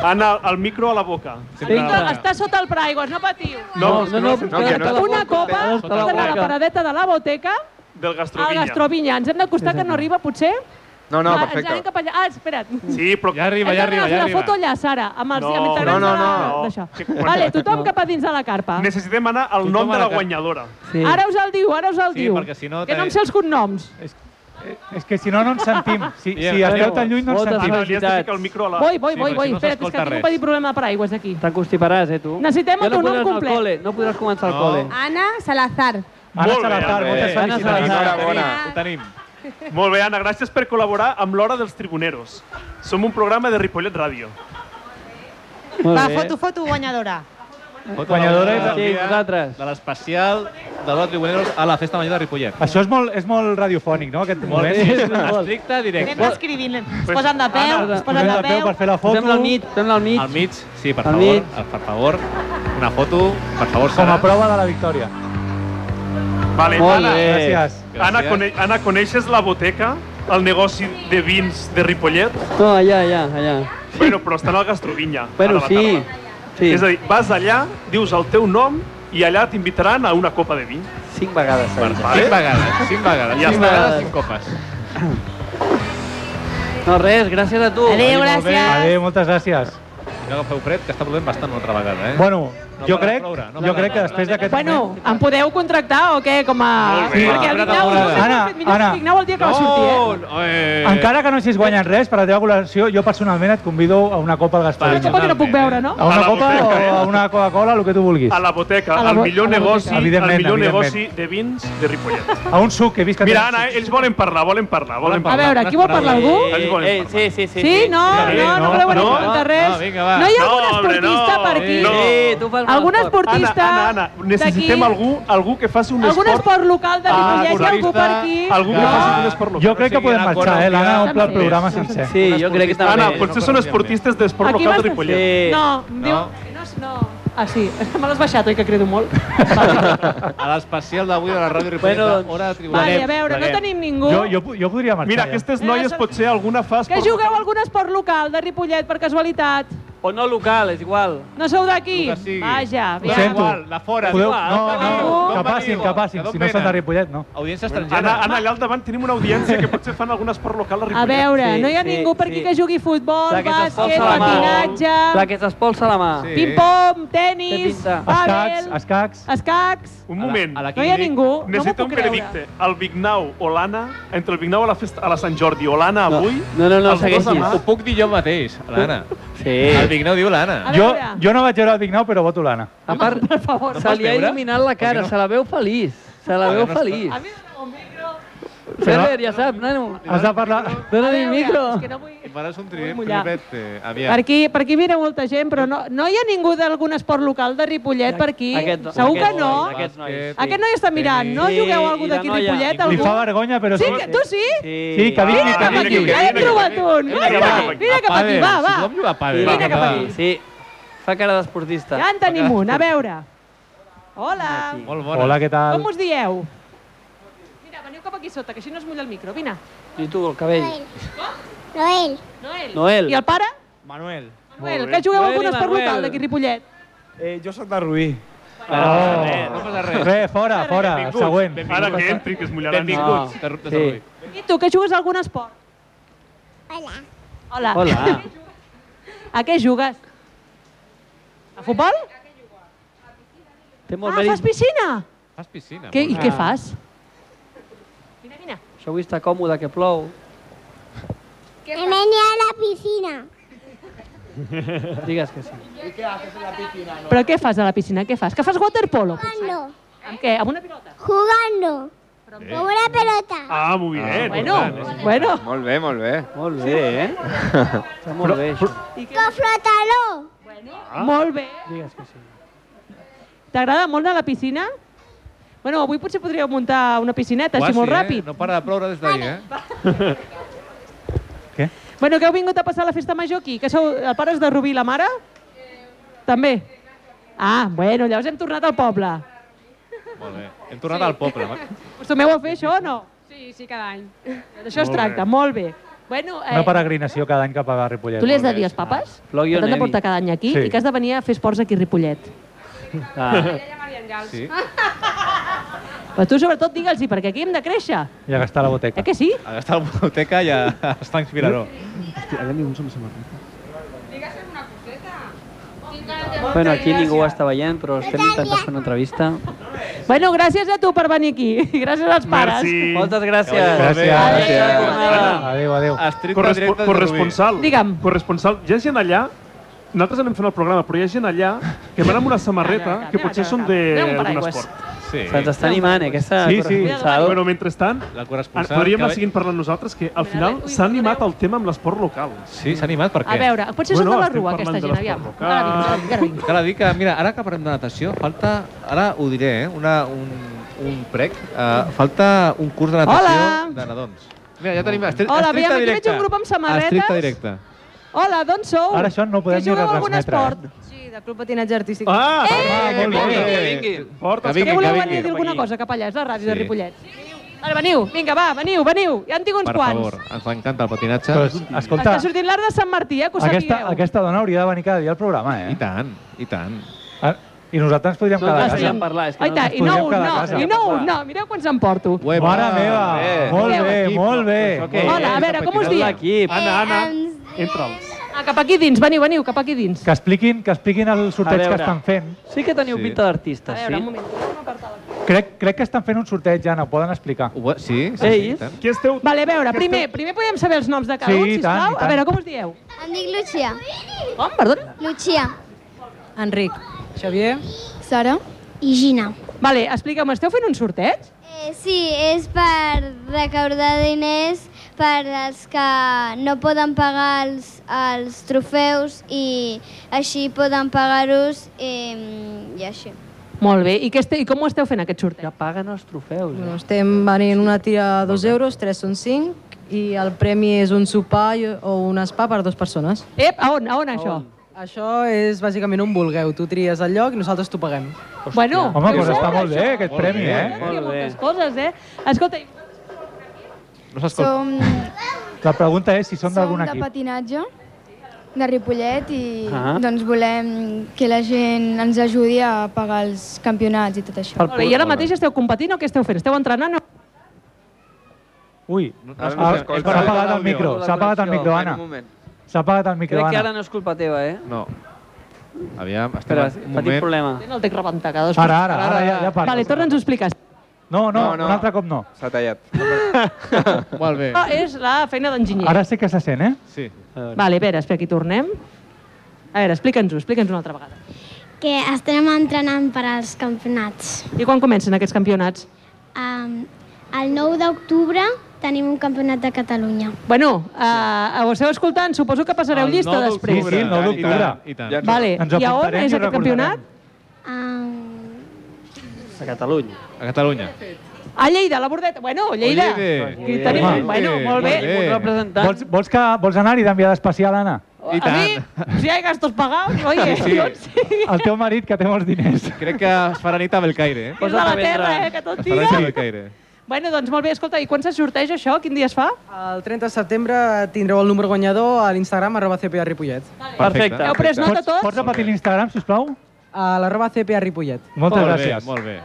A: Anna, el micro a la boca.
H: Vinga,
D: Vinga.
H: està sota el paraigües, no patiu.
A: No,
D: no, no,
E: no, que no
D: no,
E: està
H: Una copa has
D: Sota la
H: d'anar a la
D: boca.
H: paradeta de la boteca
A: Del
H: al
A: Gastrovinya.
H: Gastrovinya. Ens hem d'acostar, que no arriba, potser?
E: No, no,
H: Ah, Ens anem
E: perfecte.
H: cap allà. Ah, espera't.
A: Sí, però...
C: Ja arriba,
H: Hem
C: ja
H: de
C: arriba,
H: fer
C: ja
H: la
C: arriba.
H: foto allà, Sara, amb els
A: No,
H: amb integrants
E: no, no,
H: de la-
A: no.
H: d'això.
A: Que quan-
H: Vale, tothom cap a dins de la carpa.
A: Necessitem anar al
C: Tothom
A: nom
C: a
A: de
C: la
A: la
C: ca-
A: guanyadora.
D: Sí.
H: Ara us el diu, ara us el
C: Sí,
H: diu.
C: perquè si no
H: Que no em
C: te-
H: sé els cognoms.
B: És que si no, no ens sentim. Si,
C: Bien,
B: si esteu
C: adéu.
B: tan lluny, no ens
D: Moltes
A: Ah,
B: sentim.
A: no, li has de
D: Felicitats.
A: ficar el micro a la...
H: Voi, voi,
C: Sí,
H: voi,
C: perquè
H: voi.
C: si no
H: Espera't, és que
C: s'escolta
H: tinc un
C: res.
H: petit problema de paraigües aquí.
D: T'encostiparàs, eh, tu?
H: Necessitem
D: Ja
H: el teu nom
D: podràs anar al
H: complet.
D: cole, No podràs començar al
C: No.
D: col·le.
J: Ana Salazar.
B: Anna
A: Molt bé,
B: Salazar,
A: Anna,
B: moltes
A: eh?
D: Anna
C: Ho tenim,
B: felicitats.
D: Salazar.
C: Enhorabona.
J: Hola.
C: Ho tenim.
A: Molt bé, Anna, gràcies per col·laborar amb l'Hora dels Tribuneros. Som un programa de Ripollet Ràdio.
D: Molt
G: Va,
D: bé.
G: foto, foto guanyadora.
C: Foto
B: Guanyadora és-
D: Sí, vosaltres.
C: De l'especial de l'Hora Tribuneros a la Festa Major de Ripollet.
B: Això és molt, és molt radiofònic, no, aquest
C: Molt
B: moment?
C: bé.
D: molt.
C: Estricte,
G: Anem
C: directe.
G: descrivint. Es posen de peu,
D: Anna,
G: es
B: Posem
G: posen de
B: de peu per fer la foto.
D: Fem-la al mig, fem-la al
C: Al
D: mig.
C: mig, sí, per
D: Al
C: favor.
D: mig.
C: eh, Per favor. Una foto, per favor,
B: Com
C: Sara.
B: a prova de la victòria.
A: Vale,
D: Molt
A: Anna,
D: bé.
B: Gràcies.
A: Anna, cone Anna, coneixes la boteca? El negoci de vins de Ripollet?
D: No, allà, allà, allà.
A: Bueno, però estan al Gastrovinya.
D: Bueno,
A: ara a la
D: sí.
A: tarda.
D: Sí,
A: És a dir, vas allà, dius el teu nom i allà t'invitaran a una copa de vi.
D: cinc vegades. s'ha dit.
C: Cinc
A: Vale?
C: vegades, cinc vegades.
A: Ja
C: Cinc
A: està.
C: vegades, cinc copes.
D: eh. No, res, gràcies a tu.
G: Adéu,
C: Molt bé.
G: gràcies.
B: Adéu, moltes gràcies.
C: No agafeu fred, que està plovent bastant una altra vegada, eh?
B: Bueno,
C: No
B: jo
C: para de
B: crec,
C: ploure,
B: jo
C: no para
B: crec
C: de
B: que
C: ploure.
B: després d'aquest
H: Bueno,
B: moment...
H: em podeu contractar o què? Com a...
A: Molt bé.
C: Una
H: Perquè el Vignau, no sé si
C: temporada.
H: has fet millor
B: Anna,
H: que Vignau el dia que va sortir, eh?
C: No! Eh,
B: Encara que no hagis guanyat res per la teva col·laboració, jo personalment et convido a una copa al
H: Una
B: Gastrovinya.
H: copa que no puc veure, no?
B: A
A: A
B: una
A: la
B: copa o
A: boteca, eh?
B: a una Coca-Cola, el que tu vulguis.
A: A la boteca,
H: A la
A: el
H: bo-
A: millor
H: a la
A: negoci,
H: boteca.
A: el
B: Evidentment,
A: millor
B: evidentment.
A: negoci de vins de Ripollet.
B: A un suc, que he vist que
A: Mira,
B: tens-
A: Anna, eh, ells volen parlar, volen parlar, volen
H: A
A: parlar.
H: veure, aquí vol parlar algú?
A: Ens volen
D: Eh, eh,
A: parlar.
D: sí, sí, sí.
H: Sí? No,
A: Sí,
H: no, no
B: no,
H: voleu venir
A: no,
H: a preguntar
C: no,
H: res.
C: vinga, va.
H: No hi ha
A: No,
H: algun
A: hombre,
H: esportista
A: no.
H: per aquí?
A: No.
D: Sí, tu fas mal
H: Algun
D: esport.
A: Anna,
H: esportista
A: Anna, Anna, necessitem
H: d'aquí?
A: algú, algú que faci un
H: Algun
A: esport,
H: esport local de
A: Ah,
H: Ripollet? Hi ha algú per aquí?
A: algú que
B: No.
A: faci un esport local.
B: Jo crec que podem marxar, eh? L'Anna omple el programa sencer.
D: Sí, jo crec que també.
A: Anna,
C: no
A: potser són
C: coneixíem
A: esportistes d'esport
H: Aquí
A: local de
H: vas-
A: Ripollet.
D: Sí.
H: No, em diu... No, no. Ah, sí, és que me l'has baixat, oi, que credo molt?
C: A l'especial d'avui de la Ràdio Ripollet,
D: Bueno,
C: la hora de tribunal.
H: Vale, a veure, no tenim ningú.
B: Jo, jo, jo podria marxar.
A: Mira,
B: ja.
A: aquestes
H: Eh,
A: noies
H: són-
A: potser alguna fa
H: Que
A: esport.
H: jugueu a algun esport local de Ripollet, per casualitat.
C: O no local, és igual.
H: No sou d'aquí?
C: El que sigui.
H: Vaja,
C: Ho
H: aviam.
C: sento. Igual, de fora,
B: Podeu...
C: igual.
B: No, no,
C: Ningú.
B: que passin, que passin. Si no són de Ripollet, no.
C: Audiència
A: Ara, ara allà al davant tenim una audiència que potser fan algunes per local a
H: A
A: Ripollet.
H: veure, no hi ha ningú per aquí que jugui a futbol, bàsquet, patinatge,
C: La que s'espolsa la mà.
H: ping-pong, tenis,
C: pinta.
H: pàdel,
B: escacs.
H: escacs...
A: Un moment.
H: No hi ha ningú, no m'ho
A: Necessito
H: puc
A: un
H: creure.
A: veredicte. El Vignau o l'Anna, entre el Vignau a la, festa, a la Sant Jordi o l'Anna avui...
C: No, no, no,
A: els dos
C: segueixis.
A: demà-
C: Ho puc dir jo mateix, l'Anna. Sí. El Vignau diu l'Anna.
B: Jo, jo no vaig veure el Vignau, però voto l'Anna.
C: A part,
H: per favor.
C: No
D: Se
C: pots
D: li ha
C: veure?
D: il·luminat la cara, se la veu feliç. Se la
C: Ara
D: veu
C: no està.
D: feliç.
C: A
D: Ferrer, ja sap, nano.
B: Has de parlar...
D: Dóna-li el micro.
C: Faràs un
H: vull mullar.
C: tripete,
H: Per
C: aviam.
H: aquí, per aquí mira molta gent, però no, no hi ha ningú d'algun esport local de Ripollet per aquí?
C: aquest-
H: Segur
C: aquest
H: que no.
C: noi, aquest noi, sí.
H: Aquest noi està mirant, no?
C: Sí,
H: Jugueu a
C: i
H: algú
C: la
H: d'aquí
C: noia,
H: Ripollet?
C: ningú.
B: Li
H: Algú?
B: fa vergonya, però...
H: Sí, que, tu sí?
B: Sí, que vingui,
H: Vine
B: que
H: cap aquí,
B: vingui.
H: ja n'hem trobat un. Vine cap aquí, vine cap aquí, va, va.
C: Tothom juga a pàdel.
H: Vine cap aquí.
C: Sí. Fa cara d'esportista.
H: Ja en tenim un, a veure. Hola,
C: Molt bona.
B: Hola, què tal?
H: com us dieu? Mira, veniu cap aquí sota, que així no es mulla el micro, vine.
C: I tu, el cabell.
H: Noel. Noel.
C: Noel.
H: I
D: Ah.
H: el pare?
K: Manuel.
H: Noel, que jugueu a
K: Noel i
H: algun esport
K: Manuel.
H: local d'aquí Ripollet.
K: Eh, jo sóc de Rubí.
B: Oh. No passa res. Re, fora, fora,
K: Benvinguts,
B: següent.
K: benvinguts. Ara que entri,
A: que es
K: mullaran. Benvinguts.
B: No.
K: De Ru- de
B: Sí.
K: Rubí.
H: I tu, que jugues a algun esport? Hola. Hola.
C: Hola.
H: A què jugues? A futbol?
C: Té
H: Ah, fas piscina?
C: Fas piscina.
H: Què, I
C: molt bé.
H: què fas? Vine, vine.
D: Això avui està còmode, que plou.
L: Me venía a la piscina.
D: Digues que sí.
L: ¿Y qué haces en la piscina?
H: Però què fas a la piscina? Què fas? Que fas waterpolo?
L: Jugando.
H: Amb què? Amb una pilota?
L: Jugando. Con una pelota.
A: Ah, molt bé.
E: Ah,
H: bueno, bueno.
E: Molt bé, molt bé.
D: Molt bé, eh? Està molt bé, això.
L: Con flotalo.
C: Ah.
H: Molt bé.
D: Digues que sí.
H: T'agrada molt anar a la piscina? Bueno, avui potser podríeu muntar una piscineta, així
C: Quasi,
H: molt
C: eh?
H: ràpid.
C: No para de ploure des d'ahir, eh?
H: Bueno, que heu vingut a passar la festa major aquí? Que sou, el pare és de Rubí i la mare? També? Ah, bueno, llavors hem tornat al poble.
C: Molt bé. Hem tornat al poble.
H: Acostumeu a fer això o no?
M: Sí, sí, cada any.
H: D'això es
B: Molt bé.
H: tracta, molt bé. Bueno, eh,
B: Una peregrinació cada any cap a Ripollet.
H: tu li has de dir als papes
B: Plogui
H: que
B: o
H: t'han de
B: nevi.
H: portar cada any aquí
B: Sí.
H: i que has de venir a fer esports aquí a Ripollet.
D: Ah.
C: Sí.
H: Però tu sobretot digue'ls-hi, perquè aquí hem de créixer.
B: I a gastar la boteca.
H: Eh que sí?
C: A gastar la biblioteca i a estar inspirador.
K: Hòstia, allà ningú som samarreta.
D: Bueno, aquí ningú ho està veient, però estem intentant fer una entrevista.
H: Bueno, gràcies a tu per venir aquí. I gràcies als pares.
D: Moltes gràcies.
B: Gràcies.
A: Adéu, adéu.
C: en directe des de
A: corresponsal.
H: Digue'm.
A: Corresponsal, hi ha gent allà nosaltres anem fent el programa, però hi ha gent allà que van amb una samarreta que potser són de-
D: Anem un
A: d'un
D: paraigües.
A: esport.
C: Sí.
D: Se'ns està animant, eh, aquesta
A: Sí, sí.
D: corresponsal.
A: Bueno, mentrestant,
C: La
A: Ara,
C: corresponsal...
A: podríem
C: que
A: anar
C: ve-
A: seguint parlant nosaltres, que al final s'ha animat el tema amb l'esport local.
C: Sí, s'ha animat, per què?
H: A veure, potser són de la
A: estem
H: rua, aquesta
A: parlant de
H: gent,
A: l'esport
H: aviam.
A: local.
H: Ara vinc, ara vinc.
C: Cal dir que, mira, ara que parlem de natació, falta, ara ho diré, eh, una, un, un prec, uh, falta un curs de natació
H: Hola.
C: de nadons. Mira, ja tenim estri
H: Hola, aviam,
C: estricte
H: aquí veig
C: directe.
H: un grup amb samarretes.
C: Estricte directe.
H: Hola, d'on sou?
C: Ara això no ho podem
H: que jugueu
C: ni
H: a algun
C: retransmetre,
H: esport?
B: eh?
M: Sí, del Club Patinatge Artístic.
A: Ah,
C: que vingui, que vingui.
A: Portes,
H: Que voleu venir a dir alguna cosa cap allà, és la ràdio de
C: Sí.
H: Ripollet. Ara, veniu, vinga, va, veniu, veniu. Ja en tinc uns
C: Per
H: quants.
C: favor, ens encanta el patinatge.
B: Però, es- escolta,
H: Està sortint l'art de Sant Martí, eh, que ho
B: aquesta,
H: sapigueu.
B: aquesta dona hauria de venir cada dia al programa, eh? I
C: tant, i tant.
B: I nosaltres ens podríem
D: No,
B: quedar a
D: no
B: casa.
D: sabíem parlar, Ah, és que
H: Aita,
B: ens
H: i no
B: podríem
H: un,
B: quedar a
H: no,
B: casa.
H: i no un, no. Mireu quants em porto.
B: Mare meva, molt bé, molt bé.
H: Hola, a veure, com us dieu?
A: Anna, Anna, entra'ls.
H: Ah, cap aquí dins, veniu, veniu, cap aquí dins.
B: Que expliquin, que expliquin el sorteig
D: A
B: que
D: veure.
B: estan fent.
D: Sí que teniu
B: Sí.
D: pinta d'artistes,
H: A veure, un
D: sí?
H: moment.
B: Crec, crec que estan fent un sorteig, Anna, ho poden explicar.
C: Sí,
B: sí, Ells? sí,
A: Qui esteu?
H: Vale, a veure, primer, primer podem saber els noms de cada
B: Sí,
H: un,
B: i tant,
H: sisplau.
B: i
H: A
B: tant.
H: veure, com us dieu?
L: Em dic Lucia.
H: Com, perdona?
L: Lucia.
M: Enric. Xavier.
L: Sara. I Gina.
H: Vale, expliqueu-me, esteu fent un sorteig?
L: Eh, sí, és per recaudar diners per als que no poden pagar els, els trofeus i així poden pagar-los eh, i així.
H: Molt bé, i, què este, i com ho esteu fent aquest sorteig? Que
D: paguen els trofeus.
M: Bueno, estem venint una tira a 2 euros, 3 són 5 i el premi és un sopar i- o un spa per dues persones.
H: Ep, a on, a on això?
M: Això és bàsicament un vulgueu. Tu tries el lloc i nosaltres t'ho paguem.
H: Bueno,
B: Home, doncs està molt bé aquest
M: Molt
B: premi,
M: bé,
B: eh?
H: Hi ha moltes coses, eh? Escolta, i-
B: No s'escolta. La pregunta és si són d'algun
N: de
B: equip.
N: patinatge
L: de Ripollet i
O: Ah.
L: doncs volem que la gent ens ajudi a pagar els campionats i tot això.
H: Molt bé, I ara mateix esteu competint o què esteu fent? Esteu entrenant o...
B: Ui,
D: no
B: ah,
D: s'escolta.
B: s'ha apagat el micro, s'ha apagat el micro,
D: Espera un
B: Anna.
D: moment.
B: S'ha apagat el micro,
D: Crec que ara
B: Anna.
D: no és culpa teva, eh?
P: No. Aviam, estem
D: Espera,
P: a-
D: petit
P: un moment.
D: problema.
H: Tenen el tec rebentat. cadascú.
B: Ara, ara, ara, ja, ja parla.
H: Vale, torna'ns ho expliques.
B: No, no, un altre cop no.
E: S'ha tallat.
C: Molt bé.
H: Això és la feina d'enginyer.
B: Ara sí que se sent, eh?
C: Sí.
H: Vale, a veure, espera, aquí tornem. A veure, explica'ns-ho, explica'ns una altra vegada.
Q: que Eh, estem entrenant per als campionats.
H: I quan comencen aquests campionats?
Q: Um, el 9 d'octubre tenim un campionat de Catalunya.
H: Bueno, uh, ho esteu escoltant, suposo que passareu
Q: El
H: llista
Q: nou
H: després.
B: Sí, sí, el 9 d'octubre.
C: I tant.
H: Vale,
B: Ens
H: i a on
B: apuntarem
H: és
B: i
H: aquest campionat?
D: A Catalunya.
C: A Catalunya.
H: A Lleida, a la Bordeta. Bueno, Lleida. Aquí tenim... Bueno, molt bé.
B: Vols, vols, que, vols anar-hi d'enviada especial, Anna?
H: A mi, si hi ha gastos pagados, oye, doncs
C: Sí, sí.
H: jo en sé.
B: El teu marit, que té molts diners.
C: Crec que es farà nit a Belcaire, eh?
H: És de la terra, eh, que tot
C: Es farà nit a
H: tira.
C: Belcaire.
H: Bueno, doncs molt bé, escolta, i quan se sorteja això? Quin dia es fa?
R: El 30 de setembre tindreu el número guanyador a l'Instagram arroba CPA Ripollet.
H: Perfecte. Heu pres nota tots?
B: Pots repetir l'Instagram, sisplau?
R: A l'arroba CPA Ripollet.
B: Moltes
C: molt
B: gràcies.
C: Bé, molt bé.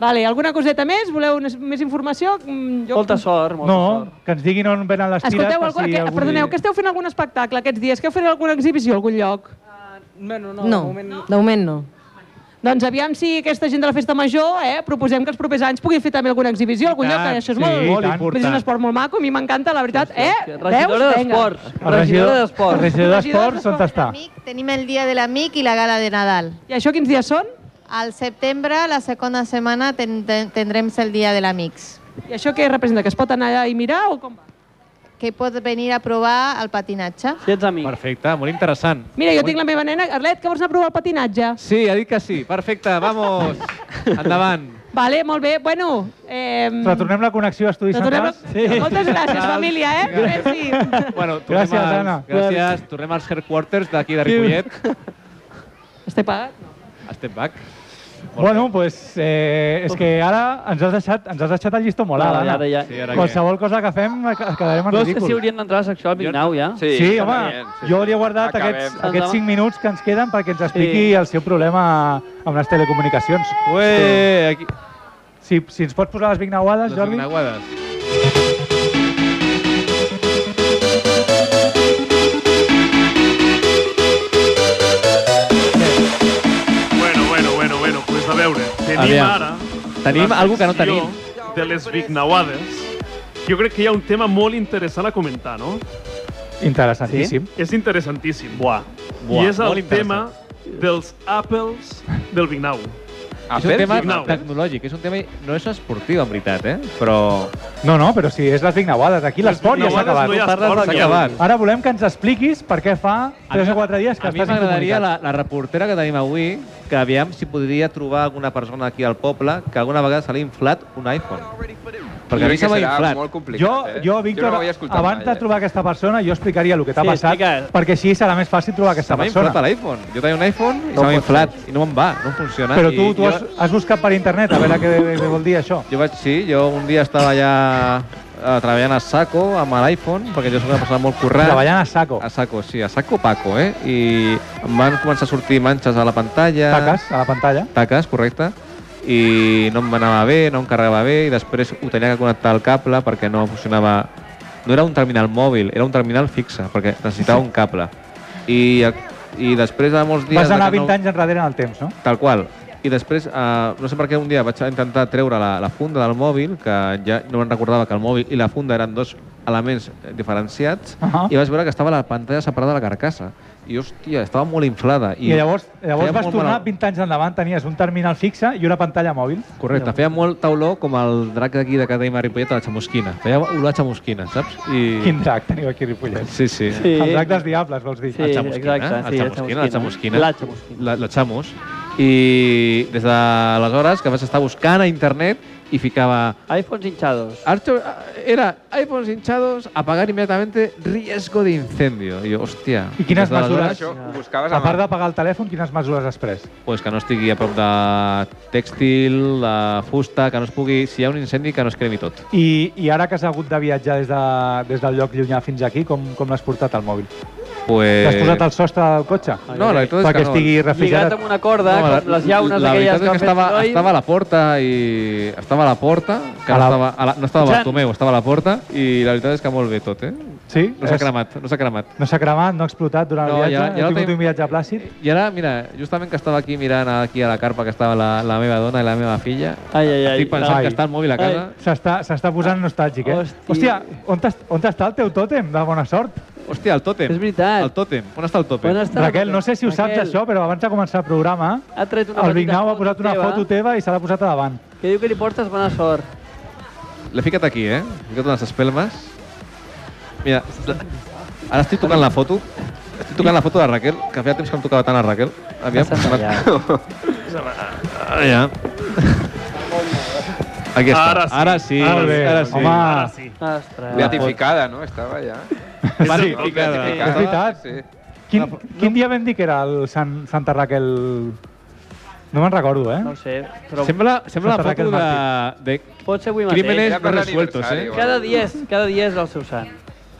H: Vale, alguna coseta més? Voleu unes- més informació? Mm, Jo...
D: sort,
B: molta no, sort. que ens diguin on venen les tires.
H: Escolteu, algú,
B: per si
H: que,
B: algú-
H: perdoneu, que esteu fent algun espectacle aquests dies? Que heu fet alguna exhibició a algun lloc?
R: Bueno,
S: No, de moment no. De moment no.
H: Doncs aviam si aquesta gent de la Festa Major eh, proposem que els propers anys puguin fer també alguna exhibició a algun
D: I
H: lloc,
D: tant,
H: que això és
D: sí,
H: molt,
D: i tant.
H: és un esport molt maco, a mi m'encanta, la veritat. Eh,
D: Regidora
H: veus? Vinga.
D: d'Esports.
B: El regidor
D: Regidora d'Esports.
B: El regidor d'Esports, on està?
M: Tenim el Dia de l'Amic i la Gala de Nadal.
H: I això quins dies són?
M: Al setembre, la segona setmana, ten ten tindrem el Dia de l'Amics.
H: I això què representa? Que es pot anar allà i mirar o com va?
M: Que pot venir a provar el patinatge.
D: Si ets amic.
C: Perfecte, molt interessant.
H: Mira, jo tinc la meva nena, Arlet, que vols anar a provar el patinatge?
C: Sí, ha dit que sí. Perfecte, vamos. Endavant.
H: Vale, molt bé. Bueno, eh,
B: Retornem la connexió a Estudis
H: Retornem
B: Centrals. Sí.
H: moltes gràcies, família, eh? Merci.
C: Bueno, tornem
B: Gràcies,
C: als,
B: Anna.
C: Gràcies. Tornem als headquarters d'aquí de Ripollet.
H: Esteu pagat?
C: No. Step back.
B: Bueno, doncs pues, eh, és que ara ens has deixat, ens has deixat el llistó molt alt,
D: Ara,
B: Anna.
D: ara ja. Sí, ara què?
B: Qualsevol cosa que fem eh, que- quedarem en
D: Però és que
B: ridícul.
D: sí hauríem d'entrar a la secció del Pirineu, ja.
B: Sí, sí home, jo li he guardat
D: Acabem.
B: aquests,
D: Endavant.
B: aquests 5 minuts que ens queden perquè ens expliqui
D: Sí.
B: el seu problema amb les telecomunicacions.
C: Ué, aquí...
B: Si, si ens pots posar les vignaguades,
C: Les
B: Jordi.
C: vinaguades.
A: Bueno, bueno, bueno, bueno, pues a veure, tenim
C: Aviam.
A: ara...
C: Tenim
A: la
C: algú que no
A: secció
C: tenim.
A: De les Vignauades. Jo crec que hi ha un tema molt interessant a comentar, no?
B: Interessantíssim.
A: És interessantíssim. Buah.
B: Buah,
A: I és el
B: molt
A: tema dels Apples del Vignau.
C: És un tema
A: Vignau.
C: tecnològic, és un tema... No és esportiu, en veritat, eh? Però...
B: No, no, però si és les vignaguades, aquí l'esport ja s'ha
C: vignaguades
B: acabat.
C: no hi ha Tu parles esport, de ja. acabat.
B: Ara volem que ens expliquis per què fa 3 o 4 dies que
C: A mi
B: estàs
C: m'agradaria
B: incomunicat.
C: la, la reportera que tenim avui, que aviam si podria trobar alguna persona aquí al poble que alguna vegada se li ha inflat un iPhone. Perquè a mi
E: crec
C: se
E: que
C: m'ha
E: serà
C: inflat.
E: molt complicat,
B: Jo,
E: eh?
B: jo, Víctor,
E: no ho he escoltat
B: abans de
E: mai, eh?
B: trobar aquesta persona, jo explicaria el que t'ha
C: Sí,
B: passat,
C: explica.
B: perquè així serà més fàcil trobar aquesta
C: Se m'ha inflat
B: persona.
C: l'iPhone. Jo tenia un iPhone i
B: No
C: se
B: pot
C: m'ha inflat. I no me'n va, no funciona.
B: Però
C: I
B: tu, tu
C: jo-
B: has, has buscat per internet a veure què, què vol dir això.
C: Jo vaig, sí, jo un dia estava allà eh, treballant a saco amb l'iPhone, perquè jo soc una persona molt currant.
B: Treballant a saco.
C: A saco, sí, a saco paco, eh? I em van començar a sortir manxes a la pantalla.
B: Taques a la pantalla.
C: Taques, correcte. I no em anava bé, no em carregava bé, i després ho tenia que connectar al cable perquè no funcionava... No era un terminal mòbil, era un terminal fixe, perquè necessitava un cable. I, i després de molts dies...
B: Vas
C: de
B: anar
C: que
B: 20 anys enrere en el temps, no?
C: Tal qual. I després, eh, no sé per què, un dia vaig intentar treure la, la funda del mòbil, que ja no me'n recordava que el mòbil i la funda eren dos elements eh, diferenciats, uh
B: Ahà.
C: -huh. i vaig veure que estava la pantalla separada de la carcassa. I, hòstia, estava molt inflada.
B: I, llavors, llavors
C: feia
B: vas
C: molt
B: tornar
C: mal-
B: 20 anys endavant, tenies un terminal fixe i una pantalla mòbil.
C: Correcte, feia molt tauló com el drac d'aquí de Cadell Maripollet a la xamusquina. Feia olor a xamusquina, saps? I...
B: Quin drac teniu aquí a Ripollet?
C: Sí, sí.
B: Sí. El drac dels diables, vols dir?
C: el Chamusquina, el Chamusquina, el Chamusquina,
D: La
C: la, la Chamus. I des d'aleshores que vaig estar buscant a internet i ficava...
D: iPhones hinchados.
C: Arthur, ah, era iPhones hinchados, apagar inmediatamente, riesgo de incendio. I jo, hòstia...
B: I quines
C: des d'aleshores-
B: mesures? A part d'apagar el telèfon, quines mesures has pres?
C: Pues que no estigui a prop de tèxtil, de fusta, que no es pugui... Si hi ha un incendi, que no es cremi tot.
B: I, I ara que has hagut de viatjar des, de, des del lloc llunyà fins aquí, com, com l'has portat al mòbil?
C: Pues...
B: T'has posat el sostre del cotxe?
C: No, la veritat és
B: Perquè
C: que no.
B: estigui refrigerat.
T: Lligat amb una corda,
C: la-
T: com les llaunes
C: la
T: aquelles
C: veritat
T: que
C: és
T: han
C: que
T: fet
C: estava,
T: soroll.
C: estava a la porta i... Estava a la porta, que
B: A
C: no,
B: la-
C: estava, a la, no estava
B: Jan.
C: Bartomeu, estava a la porta i la veritat és que molt bé tot, eh?
B: Sí?
C: No s'ha
B: és-
C: cremat, no s'ha cremat.
B: No s'ha cremat, no ha explotat durant
C: No,
B: el viatge,
C: ja- ja
B: ha
C: no
B: tingut
C: tenim-
B: un viatge plàcid.
C: I ara, mira, justament que estava aquí mirant aquí a la carpa que estava la, la meva dona i la meva filla,
T: ai, ai, ai,
C: estic pensant que està el mòbil a casa.
B: S'està s'està
C: Ah,
B: posant nostàlgic, eh? Hòstia, on, t'has- on està el teu tòtem de bona sort?
C: Hòstia, el tòtem. És
T: veritat.
C: El tòtem. On està el tòtem?
B: Raquel, no sé si ho saps
T: Raquel.
B: això, però abans de començar el programa,
T: Ha tret una
B: el
T: petita
B: Vignau ha
T: foto
B: posat una
T: teva.
B: foto teva i se l'ha posat a davant.
T: Que diu que li portes bona sort.
C: L'he ficat aquí, eh? He ficat unes espelmes. Mira, la- ara estic tocant la foto. Estic tocant la foto de Raquel, que feia temps que em tocava tant a Raquel. Aviam.
T: Has fallat.
C: Ah, ja. Aquí està.
E: Ara sí.
C: Ara sí.
E: Molt bé.
C: Ara sí.
E: Home. Ara sí.
T: Ostres.
E: Beatificada, no? Estava ja.
C: Beatificada.
B: És veritat.
E: Sí.
B: Quin, quin dia vam dir que era el Sant, Santa Raquel... No me'n recordo, eh?
T: No ho sé, però...
C: Sembla, sembla la
B: Santa
C: foto de, de
T: Pot ser avui mateix.
C: crímenes no resueltos, eh?
T: Cada dia, és, cada dia és el seu sant.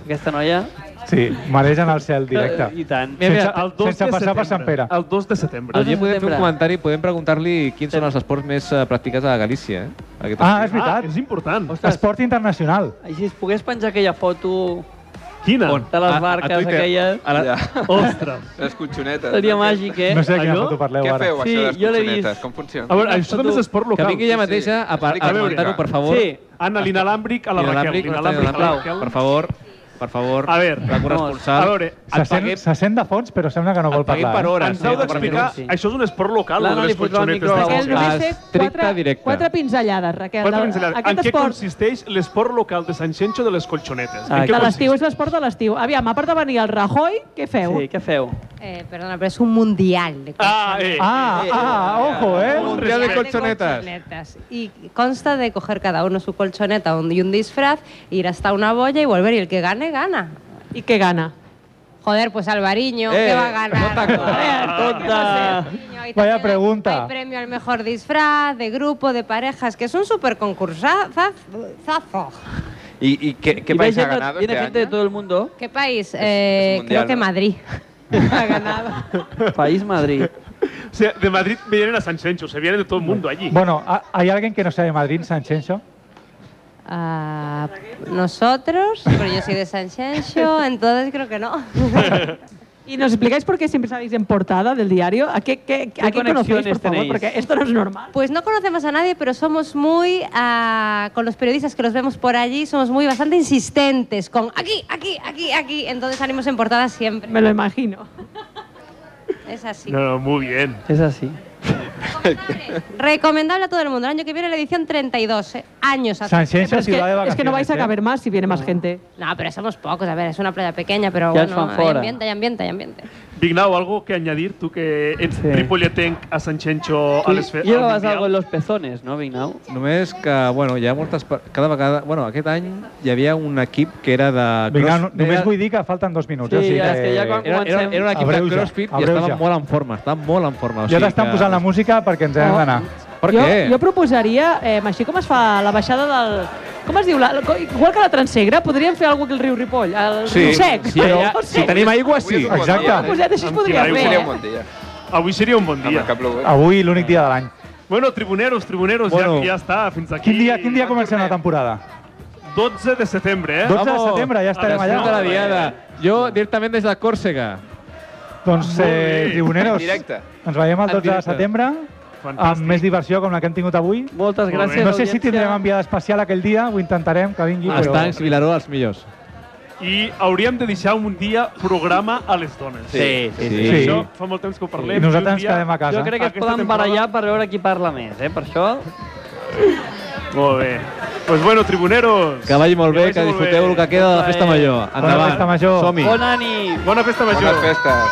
T: Aquesta noia...
B: Sí, mereix anar al cel directe.
T: I tant.
C: Mira, mira,
B: Sense-
C: el dos
B: sense
C: de
B: passar per
C: setembre.
B: Sant Pere.
A: El 2 de setembre. Ah,
C: Allí podem fer un
A: setembre.
C: comentari, podem preguntar-li quins són els esports més eh, practicats a Galícia, eh? Aquest
B: Ah,
C: estiu.
B: és veritat.
A: és important.
B: Esport internacional.
T: I si es pogués penjar aquella foto...
A: Quina?
T: De les barques aquelles...
C: A la...
A: Ostres.
E: Les cotxonetes.
T: Seria màgic, eh?
B: No sé de quina foto parleu
E: Què
B: ara.
E: feu,
T: Sí,
E: això de les
T: jo l'he
E: cotxonetes?
T: vist.
E: Com funciona?
A: A veure, això també és esport local.
C: Que vingui ella mateixa a, par- a
A: Explica-ho.
C: comentar-ho, per favor.
A: Sí. Anna, l'inalàmbric a la Raquel.
C: Inalàmbric,
A: L'inalàmbric a la Raquel.
C: Per favor, per favor.
A: A veure.
C: La corresponsal.
A: A veure,
B: Se sent, se sent de fons, però sembla que no vol parlar. eh?
A: Ens heu d'explicar, això és un esport local,
T: L'Anna
A: no de
T: li
A: les
T: fotrà el
A: cotxonetes.
T: micro a la
A: de
T: boca.
A: les
T: Aquell només
A: barques.
T: té quatre-
C: directe.
H: Quatre pinzellades, Raquel.
A: Quatre
H: de-
A: pinzellades. En
H: Aquest
A: què
H: esport
A: consisteix l'esport local de Sant Xenxo de les colxonetes?
T: Ah,
A: en què
H: de
A: consisteix?
H: l'estiu és l'esport de l'estiu. Aviam, a part de venir el Rajoy, què feu?
T: Sí, què feu?
M: Eh, perdona, pero es un mundial de
A: Ah,
M: colchonetas.
A: eh.
B: Ah, ah, ojo, eh.
C: Mundial de colchonetas.
M: colchonetas. Y consta de coger cada uno su colchoneta un- y un disfraz, ir hasta una boya y volver. Y el que gane, gana.
H: ¿Y qué gana?
M: Joder, pues Alvariño,
C: Eh,
M: ¿qué va a ganar?
T: Tonta.
B: Vaya pregunta.
M: Premio al mejor disfraz, de grupo, de parejas, que es un súper concursazo.
E: I, i què, què
T: Y
E: país
T: ve
E: ha
T: gente-
E: ganado
T: viene
E: este
T: gente de
E: año?
T: todo el mundo.
M: ¿Qué país? Eh,
E: mundial,
M: creo que
E: ¿no?
M: Madrid. ha ganado.
T: País Madrid.
A: O sea, de Madrid vienen a San Xenxo, se vienen de todo el mundo allí.
B: Bueno, ¿ha- ¿hay alguien que no sea de Madrid, Sanchencho?
M: Ah, nosotros, pero yo soy de San Xenxo, entonces creo que no.
H: ¿Y nos explicáis por qué siempre salís en portada del diario? ¿A qué, qué,
T: ¿Qué
H: a qué conocéis, por
T: conexiones
H: favor?
T: tenéis?
H: Porque esto no es normal.
M: Pues no conocemos a nadie, pero somos muy, ah, con los periodistas que los vemos por allí, somos muy bastante insistentes con aquí, aquí, aquí, aquí. Entonces salimos en portada siempre.
H: Me lo imagino.
M: Es así.
A: No, no, muy bien.
T: Es así.
M: Recomendable a todo el mundo. El año que viene la edición 32, eh, años hace.
B: San Xenxo,
H: Pero es, que,
B: ciudad de vacaciones.
H: es que no vais a
B: ¿eh?
H: caber más si viene más gente.
M: No, pero somos pocos. A ver, es una playa pequeña, pero
T: Ya es
M: bueno, hay
T: fanfora.
M: ambiente, hay ambiente, hay ambiente.
A: Vignau, ¿algo que añadir tú que en
T: Sí.
A: Tripolletenc a San Xenxo a les fe- al
T: Llevabas
A: Mundial?
T: algo en los pezones, ¿no, Vignau?
C: Només que, bueno, hi ha moltes... pa- Cada vegada... Bueno, aquest any hi havia un equip que era de...
B: Vinga,
C: cross-
B: no, només
C: era-
B: vull dir que falten dos minuts.
T: Sí,
B: o sigui
T: ja, és que ja quan
C: Era, era, era un equip
B: Abreuja,
C: de crossfit i
B: abreuja.
C: estava molt en forma, estava molt en forma. O
B: Ja
C: sigui
B: t'estan
C: que-
B: posant la música perquè ens hem
H: No.
B: d'anar.
C: Per
H: jo,
C: què?
H: jo proposaria, eh, així com es fa la baixada del... Com es diu? La, co- igual que la Transegra, podríem fer alguna cosa que el riu Ripoll, el riu sec.
C: Si, ja,
H: No
C: si
H: sé.
C: tenim aigua,
E: Avui
C: sí.
E: és un bon
B: Exacte.
E: dia, eh?
H: Pues ja així es
A: Amb
H: podria
A: qui
H: fer.
A: va
E: Seria
H: eh?
E: un bon dia.
A: Avui seria un bon
E: Amb
A: dia.
E: el cap plogut.
B: Avui l'únic dia de l'any.
A: Bueno, tribuneros, tribuneros,
C: Bueno.
A: ja, ja està, fins aquí.
B: Quin dia, quin dia comencem la temporada?
A: 12 de setembre, eh?
B: 12 de setembre, ja estarem
C: Després de
B: allà.
C: la diada. Jo directament des de Còrsega.
B: Doncs, eh, tribuneros,
E: En directe.
B: ens veiem el 12 de
C: directe.
B: setembre amb
A: Fantàstic.
B: més diversió com la que hem tingut avui.
T: Moltes
A: Molt bé.
T: gràcies,
B: No sé si
T: audiència.
B: tindrem enviada especial aquell dia, ho intentarem, que vingui,
C: Els
B: però...
C: tancs Vilaró, els millors.
A: I hauríem de deixar un dia programa a les dones.
T: Sí, sí, sí.
B: Sí.
A: Això fa molt temps que ho parlem.
B: I nosaltres ens
A: I un dia-
B: quedem a casa.
T: Jo crec que es
A: eh? Aquesta
T: poden
A: temporada-
T: barallar per veure qui parla més, eh? Per això...
A: Molt bé. Pues bueno, tribuneros.
C: Que vagi molt bé,
A: vagi
C: que
A: molt
C: disfruteu el que queda de la festa
T: Bona
C: major.
B: Bona
C: Endavant.
B: festa major.
C: Som-hi.
T: Bona nit!
A: Bona festa major.
E: Bones festes.